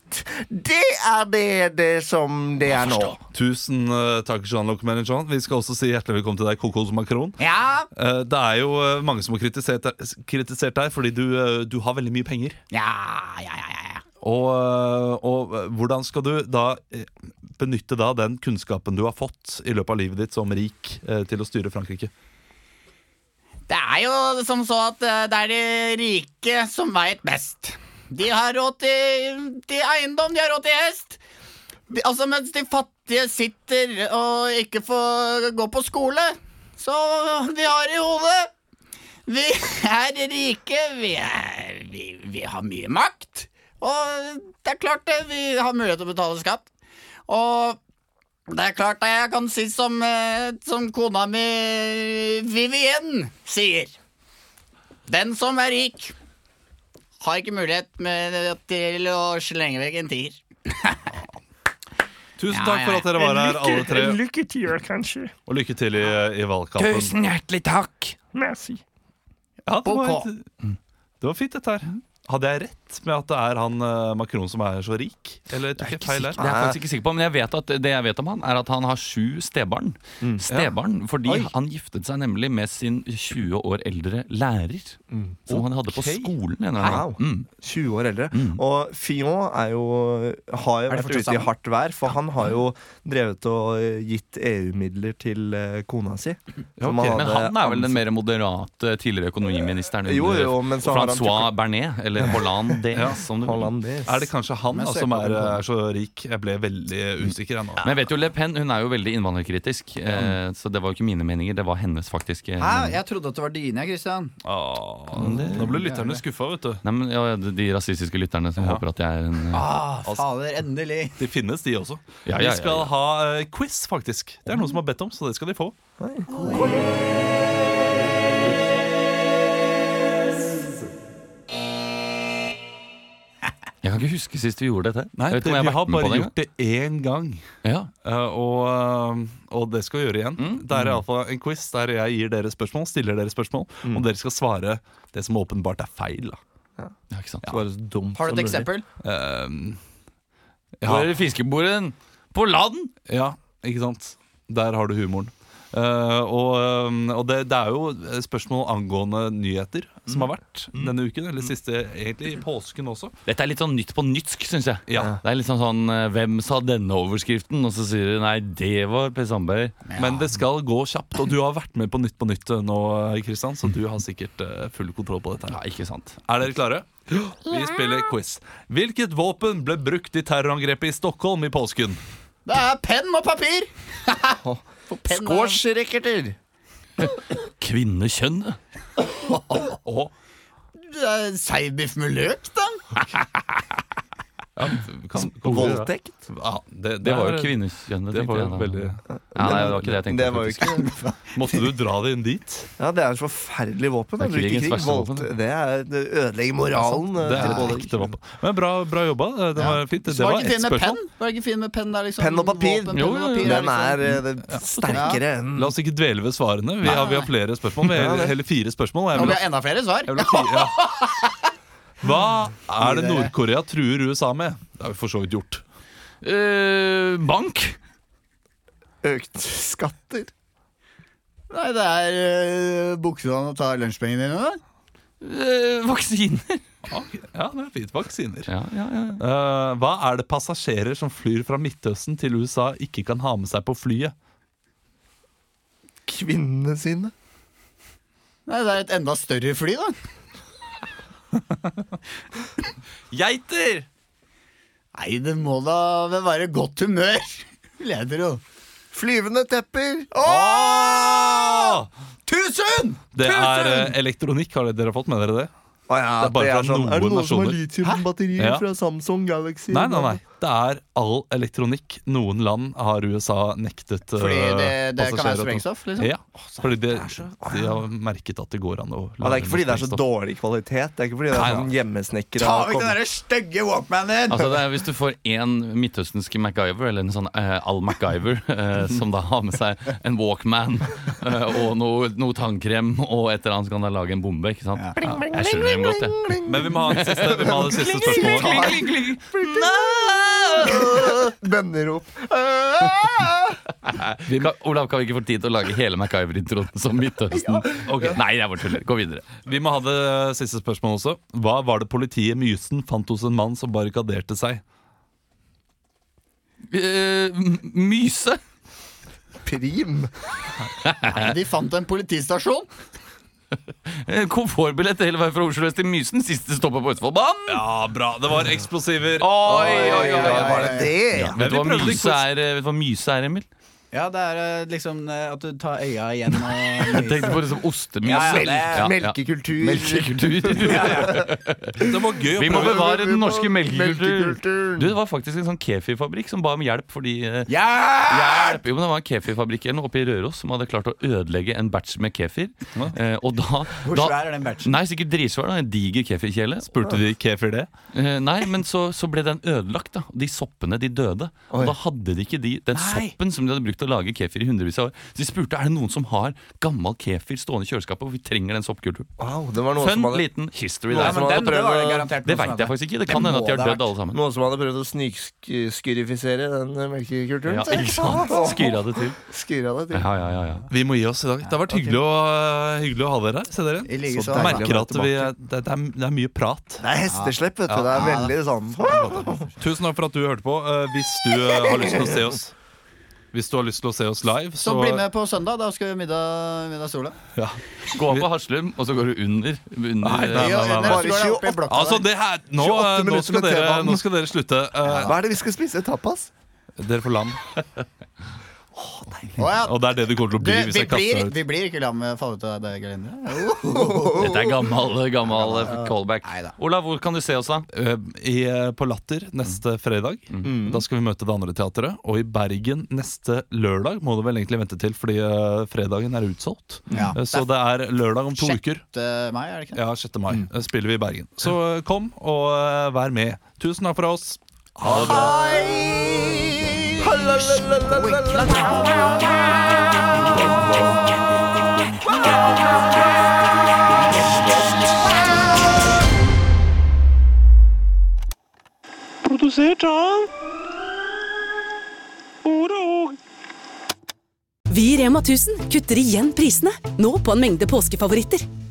Speaker 3: Det er det, det som det er nå.
Speaker 1: Tusen eh, takk, Jean-Luc Mélenchon. Vi skal også si hjertelig velkommen til deg, Kokos Macron.
Speaker 4: Ja.
Speaker 1: Eh, det er jo eh, mange som har kritisert, deg- kritisert deg fordi du, eh, du har veldig mye penger. Og, eh, og eh, hvordan skal du da eh, benytte da den kunnskapen du har fått i løpet av livet ditt som rik, eh, til å styre Frankrike?
Speaker 11: Det er jo som så at eh, det er de rike som veit best. De har råd til, til eiendom, de har råd til hest. De, altså, mens de fattige sitter og ikke får gå på skole, så vi har i hodet. Vi er rike, vi, er, vi, vi har mye makt. Og det er klart det, vi har mulighet til å betale skatt. Og det er klart det jeg kan si som, eh, som kona mi Vivien sier. Den som er rik, har ikke mulighet med, til å slenge vekk en tier.
Speaker 1: Tusen
Speaker 11: Ja,
Speaker 1: takk
Speaker 11: ja,
Speaker 1: for
Speaker 11: ja.
Speaker 1: at dere var her, alle tre.
Speaker 10: En lykketier, kanskje.
Speaker 1: Og lykke til i, i valgkampen.
Speaker 10: Tusen
Speaker 1: hjertelig takk.
Speaker 10: Merci.
Speaker 1: Ja, det, var
Speaker 10: Ok.
Speaker 1: et, det var fint, dette her. Hadde jeg rett med at det er han eh, Macron som er så rik? Eller tok jeg feil
Speaker 2: Det
Speaker 1: der?
Speaker 2: er jeg faktisk ikke sikker på, men jeg vet at det jeg vet om han, er at han har sju stebarn. Stebarn, Fordi
Speaker 1: Oi.
Speaker 2: han giftet seg nemlig med sin 20 år eldre lærer. Som han hadde på
Speaker 3: Ok.
Speaker 2: skolen. en eller annen
Speaker 3: Wow.
Speaker 2: gang.
Speaker 1: Mm.
Speaker 3: 20 år eldre. Og Fillon er jo, har jo
Speaker 2: Er det
Speaker 3: vært
Speaker 2: fortsatt
Speaker 3: ute i
Speaker 2: sammen?
Speaker 3: hardt vær, for han har jo drevet og eh, gitt EU-midler til eh, kona si.
Speaker 2: Ja,
Speaker 3: som
Speaker 2: ok.
Speaker 3: han
Speaker 2: Men
Speaker 3: hadde
Speaker 2: han er vel den mer moderate tidligere økonomiministeren
Speaker 3: Jo,
Speaker 2: under
Speaker 3: jo, men så har han
Speaker 2: Francois
Speaker 3: tilbake-
Speaker 2: Bernet, eller Hollande.
Speaker 1: Ja.
Speaker 2: som du
Speaker 1: Er det kanskje han da, som er, er så rik? Jeg ble veldig usikker ennå.
Speaker 2: Men jeg vet jo Le Pen hun er jo veldig innvandrerkritisk, eh, så det var jo ikke mine meninger. Det var hennes, faktisk. eh,
Speaker 4: Hæ?
Speaker 3: Ah,
Speaker 4: Ah, Jeg trodde at det var dine, Christian.
Speaker 1: Nå ble lytterne skuffa, vet du.
Speaker 2: Nei, men, ja, de, de rasistiske lytterne som håper at jeg er en eh,
Speaker 4: Ah, fader, endelig.
Speaker 1: Det finnes de også.
Speaker 2: Ja, ja, ja, ja.
Speaker 1: Vi skal ha eh, quiz, faktisk. Det er noen som har bedt om, så det skal de få.
Speaker 2: Jeg kan ikke huske sist vi gjorde dette.
Speaker 1: Nei,
Speaker 2: jeg vet ikke om
Speaker 1: det-
Speaker 2: jeg
Speaker 1: vi
Speaker 2: har
Speaker 1: har
Speaker 2: vært med
Speaker 1: bare
Speaker 2: på det
Speaker 1: gjort det én gang. Eh, og, eh, og det skal vi gjøre igjen.
Speaker 2: Mm.
Speaker 1: Det er iallfall en quiz der jeg gir dere spørsmål, stiller dere spørsmål,
Speaker 2: Mm.
Speaker 1: og dere skal svare det som åpenbart er feil. Da.
Speaker 2: Ja, ikke sant?
Speaker 1: Svare så dumt
Speaker 2: Har du et
Speaker 1: som
Speaker 2: eksempel?
Speaker 1: mulig. Eh, ja.
Speaker 2: Hvor er fiskeboren? På land!
Speaker 1: Ja, ikke sant? Der har du humoren. Eh, og eh, og det, det er jo spørsmål angående nyheter som
Speaker 2: Mm.
Speaker 1: har vært denne uken. Eller siste, egentlig i påsken også.
Speaker 2: Dette er litt sånn nytt på nytsk, syns jeg.
Speaker 1: Ja.
Speaker 2: Det er litt sånn sånn eh, Hvem sa denne overskriften? Og så sier de nei, det var Per Sandberg.
Speaker 1: Men det skal gå kjapt, og du har vært med på Nytt på Nytt eh, nå, eh, Kristian, så du har sikkert eh, full kontroll på dette. her. Er dere klare? Vi spiller quiz. Hvilket våpen ble brukt i terrorangrepet i Stockholm i påsken?
Speaker 11: Det er penn og papir!
Speaker 3: Squash-racketer!
Speaker 2: Kvinnekjønnet.
Speaker 1: Og
Speaker 11: Seigbiff med løk, da.
Speaker 1: kan,
Speaker 3: Voldtekt?
Speaker 1: Ja, det,
Speaker 2: Det var
Speaker 1: er-
Speaker 2: jo kvinnekjønnet, tenkte
Speaker 1: Det var jo
Speaker 2: jeg da.
Speaker 1: veldig
Speaker 2: Ja, nei, det var ikke det jeg tenkte.
Speaker 3: Det var jo
Speaker 2: faktisk.
Speaker 3: ikke
Speaker 1: Måtte du dra det inn dit?
Speaker 3: Ja, det er et forferdelig våpen.
Speaker 1: Det er
Speaker 3: Det,
Speaker 1: krigens
Speaker 3: krig,
Speaker 1: verste
Speaker 3: voldt,
Speaker 1: våpen.
Speaker 3: det, er, det ødelegger moralen. eh,
Speaker 1: Det er
Speaker 3: til både-
Speaker 1: ekte våpen. Men bra, bra jobba. Det det var fint. Det
Speaker 11: var
Speaker 1: var
Speaker 11: det ikke
Speaker 1: ett
Speaker 11: fint med
Speaker 1: spørsmål.
Speaker 11: penn? Var det ikke fint med penn der, liksom?
Speaker 3: Penn og papir.
Speaker 11: Våpen,
Speaker 3: Jo,
Speaker 11: penn og
Speaker 3: jo, jo.
Speaker 11: papir,
Speaker 3: Den er
Speaker 11: liksom.
Speaker 3: eh, det er sterkere enn
Speaker 1: La oss ikke dvele ved svarene. Vi har, vi har flere spørsmål. Vi
Speaker 11: Ja,
Speaker 1: har
Speaker 11: det.
Speaker 1: hele fire spørsmål. Jeg
Speaker 11: Nå
Speaker 1: vil
Speaker 11: blir
Speaker 1: ha-
Speaker 11: det enda flere svar.
Speaker 1: jeg vil ha fire, ja. Hva er det Nord-Korea truer USA med? Det har vi for så vidt gjort.
Speaker 2: Eh, bank.
Speaker 3: Økt skatter.
Speaker 4: Nei, det er
Speaker 11: eh,
Speaker 4: uh, bukser han og tar lunsjpengene dine.
Speaker 2: vaksiner.
Speaker 1: Ja, det er fint. Vaksiner.
Speaker 2: Eh, Ja, ja, ja.
Speaker 1: Eh, hva er det passasjerer som flyr fra Midtøsten til USA, ikke kan ha med seg på flyet?
Speaker 3: kvinnene sine.
Speaker 11: Nei, det er et enda større fly, da.
Speaker 1: Geiter!
Speaker 11: Nei, det må da vel være godt humør, vil jeg tro.
Speaker 3: Flyvende tepper.
Speaker 11: Tusen!
Speaker 1: Det er eh, elektronikk. Har dere fått med dere det? det er bare fra noen
Speaker 3: Er det noen som har
Speaker 1: nasjoner.
Speaker 3: litiumbatterier
Speaker 1: Ja.
Speaker 3: fra Samsung Galaxy?
Speaker 1: Nei, nei, nei. Det er all elektronikk. Noen land har USA nektet eh,
Speaker 11: Fordi det- det kan være
Speaker 1: passasjerer å ta-
Speaker 11: sprengstoff, liksom?
Speaker 1: Ja, fordi det, de har merket at det går an å
Speaker 3: Ja, det er ikke fordi det er så dårlig kvalitet. Det er ikke fordi det er
Speaker 1: Nei,
Speaker 3: sånn hjemmesnekra
Speaker 4: Ta vekk den der stygge walkmanen!
Speaker 2: Altså det er Hvis du får én midtøstensk MacGyver, eller en sånn eh, Al MacGyver, eh, som da har med seg en Walkman eh, og noe, noe tannkrem og et eller annet, så kan han lage en bombe. ikke sant? Ja. Jeg skjønner dem godt, jeg.
Speaker 1: Men vi må ha en siste- vi må ha det siste spørsmålet.
Speaker 3: Bønnerop.
Speaker 2: Vi, kan, Olav, kan vi ikke få tid til å lage hele MacGyver-introen som Midtøsten? Ok, Nei, jeg bare tuller. Gå videre.
Speaker 1: Vi må ha det siste spørsmålet også. Hva var det politiet Mysen fant hos en mann som barrikaderte seg?
Speaker 2: Eh, m- myse?
Speaker 3: Prim?
Speaker 11: Nei, de fant en politistasjon.
Speaker 2: Eh, Komfortbillett hele veien fra Oslo øst til Mysen, siste stoppet på Østfoldbanen!
Speaker 1: Ja, bra. Det var eksplosiver.
Speaker 2: Oi, oi, oi, oi.
Speaker 3: Var det det?
Speaker 2: Ja,
Speaker 1: Men
Speaker 2: vet, du
Speaker 1: vi
Speaker 2: hva
Speaker 1: prøvde
Speaker 2: myse
Speaker 1: ikke-
Speaker 2: er, eh, vet du hva myse er, Emil?
Speaker 4: Ja, det er eh, liksom eh, at du tar øya igjen og
Speaker 2: Jeg tenkte på liksom ostemyse.
Speaker 4: Ja, ja, det-
Speaker 2: Ja, ja.
Speaker 3: Melkekultur.
Speaker 2: Melkekultur.
Speaker 1: Det var gøy å
Speaker 2: Vi må
Speaker 1: prøve.
Speaker 2: bevare den norske melkekultur.
Speaker 3: melkekulturen.
Speaker 2: Du, Det var faktisk en sånn kefirfabrikk som ba om hjelp fordi eh,
Speaker 4: Hjelp!
Speaker 2: Jo, men Det var en kefirfabrikk eller noe oppe i Røros som hadde klart å ødelegge en batch med kefir. Eh, og da,
Speaker 4: Hvor
Speaker 2: da,
Speaker 4: svær er den batchen?
Speaker 2: Nei, Sikkert dritsvær. da, En diger kefirkjele.
Speaker 1: Spurte de Kefir det?
Speaker 2: Eh, nei, men så, så ble den ødelagt, da. De soppene, de døde.
Speaker 1: Oi.
Speaker 2: Og da hadde de ikke de, den soppen som de hadde brukt til å lage kefir i hundrevis av år. Så de spurte er det noen som har gammel kefir stående i kjøleskapet, og vi trenger den soppkulturen.
Speaker 3: Wow, det var noe
Speaker 2: Fun
Speaker 3: som hadde...
Speaker 2: liten history
Speaker 3: Noe
Speaker 2: der.
Speaker 3: som hadde prøvd å-
Speaker 2: det sånn veit jeg faktisk ikke. Det
Speaker 3: Det
Speaker 2: kan hende
Speaker 3: må
Speaker 2: at de har
Speaker 3: det ha
Speaker 2: dødd alle sammen.
Speaker 3: Noen som hadde prøvd å snikskyrifisere den eh, melkekulturen?
Speaker 2: Ja, ikke sant? Skyra det til.
Speaker 3: Skyra det til.
Speaker 2: Ja, ja, ja, ja.
Speaker 1: Vi må gi oss i dag. Det har vært hyggelig, å, eh, hyggelig å ha dere her. Se dere.
Speaker 4: I like
Speaker 1: Så
Speaker 4: så.
Speaker 1: merker
Speaker 3: Deilig å
Speaker 1: at
Speaker 3: være
Speaker 1: vi, det, det, er, det er mye prat.
Speaker 3: Det er hesteslepp, vet du.
Speaker 1: Ja.
Speaker 3: Det er veldig sånn
Speaker 1: Tusen takk for at du hørte på. Eh, Hvis du eh, har lyst til å se oss Hvis du har lyst til å se oss live,
Speaker 11: Så
Speaker 1: så,
Speaker 11: bli med på søndag. Da skal vi middag, middagssola.
Speaker 1: Ja.
Speaker 2: Gå på Haslum, og så går du under. under
Speaker 1: Nei, nei, nei, nei, nei.
Speaker 11: Bare 28
Speaker 1: Altså, det her, nå,
Speaker 3: 28
Speaker 1: nå,
Speaker 3: minutter
Speaker 1: skal
Speaker 3: med
Speaker 1: dere,
Speaker 3: T-banen.
Speaker 1: nå skal dere slutte. Eh,
Speaker 3: Hva er det vi skal spise? Tapas?
Speaker 1: dere får lam.
Speaker 11: Å, ja.
Speaker 1: Og det er det du kommer til å
Speaker 11: Du,
Speaker 1: bli hvis
Speaker 11: vi,
Speaker 1: jeg kaster
Speaker 11: blir,
Speaker 1: deg ut.
Speaker 11: vi blir ikke lam med å falle ut av det gelenderet.
Speaker 2: Dette er gammel, gammel eh, callback. Olav, hvor kan du se oss, da? Mm.
Speaker 1: Eh, i, eh, på Latter neste fredag.
Speaker 11: Mm.
Speaker 1: Da skal vi møte det andre teatret. Og i Bergen neste lørdag må du vel egentlig vente til, fordi eh, fredagen er utsolgt.
Speaker 11: Mm. Ja.
Speaker 1: Eh, Så det er lørdag om to uker.
Speaker 11: Sjette Mm. mai, eh, er det ikke det?
Speaker 1: Ja, 6. mai eh, spiller vi i Bergen. Så eh, kom og eh, vær med. Tusen takk fra oss. Ha det bra.
Speaker 6: Produsert av Ordet og
Speaker 12: Vi i Rema 1000 kutter igjen prisene, nå på en mengde påskefavoritter.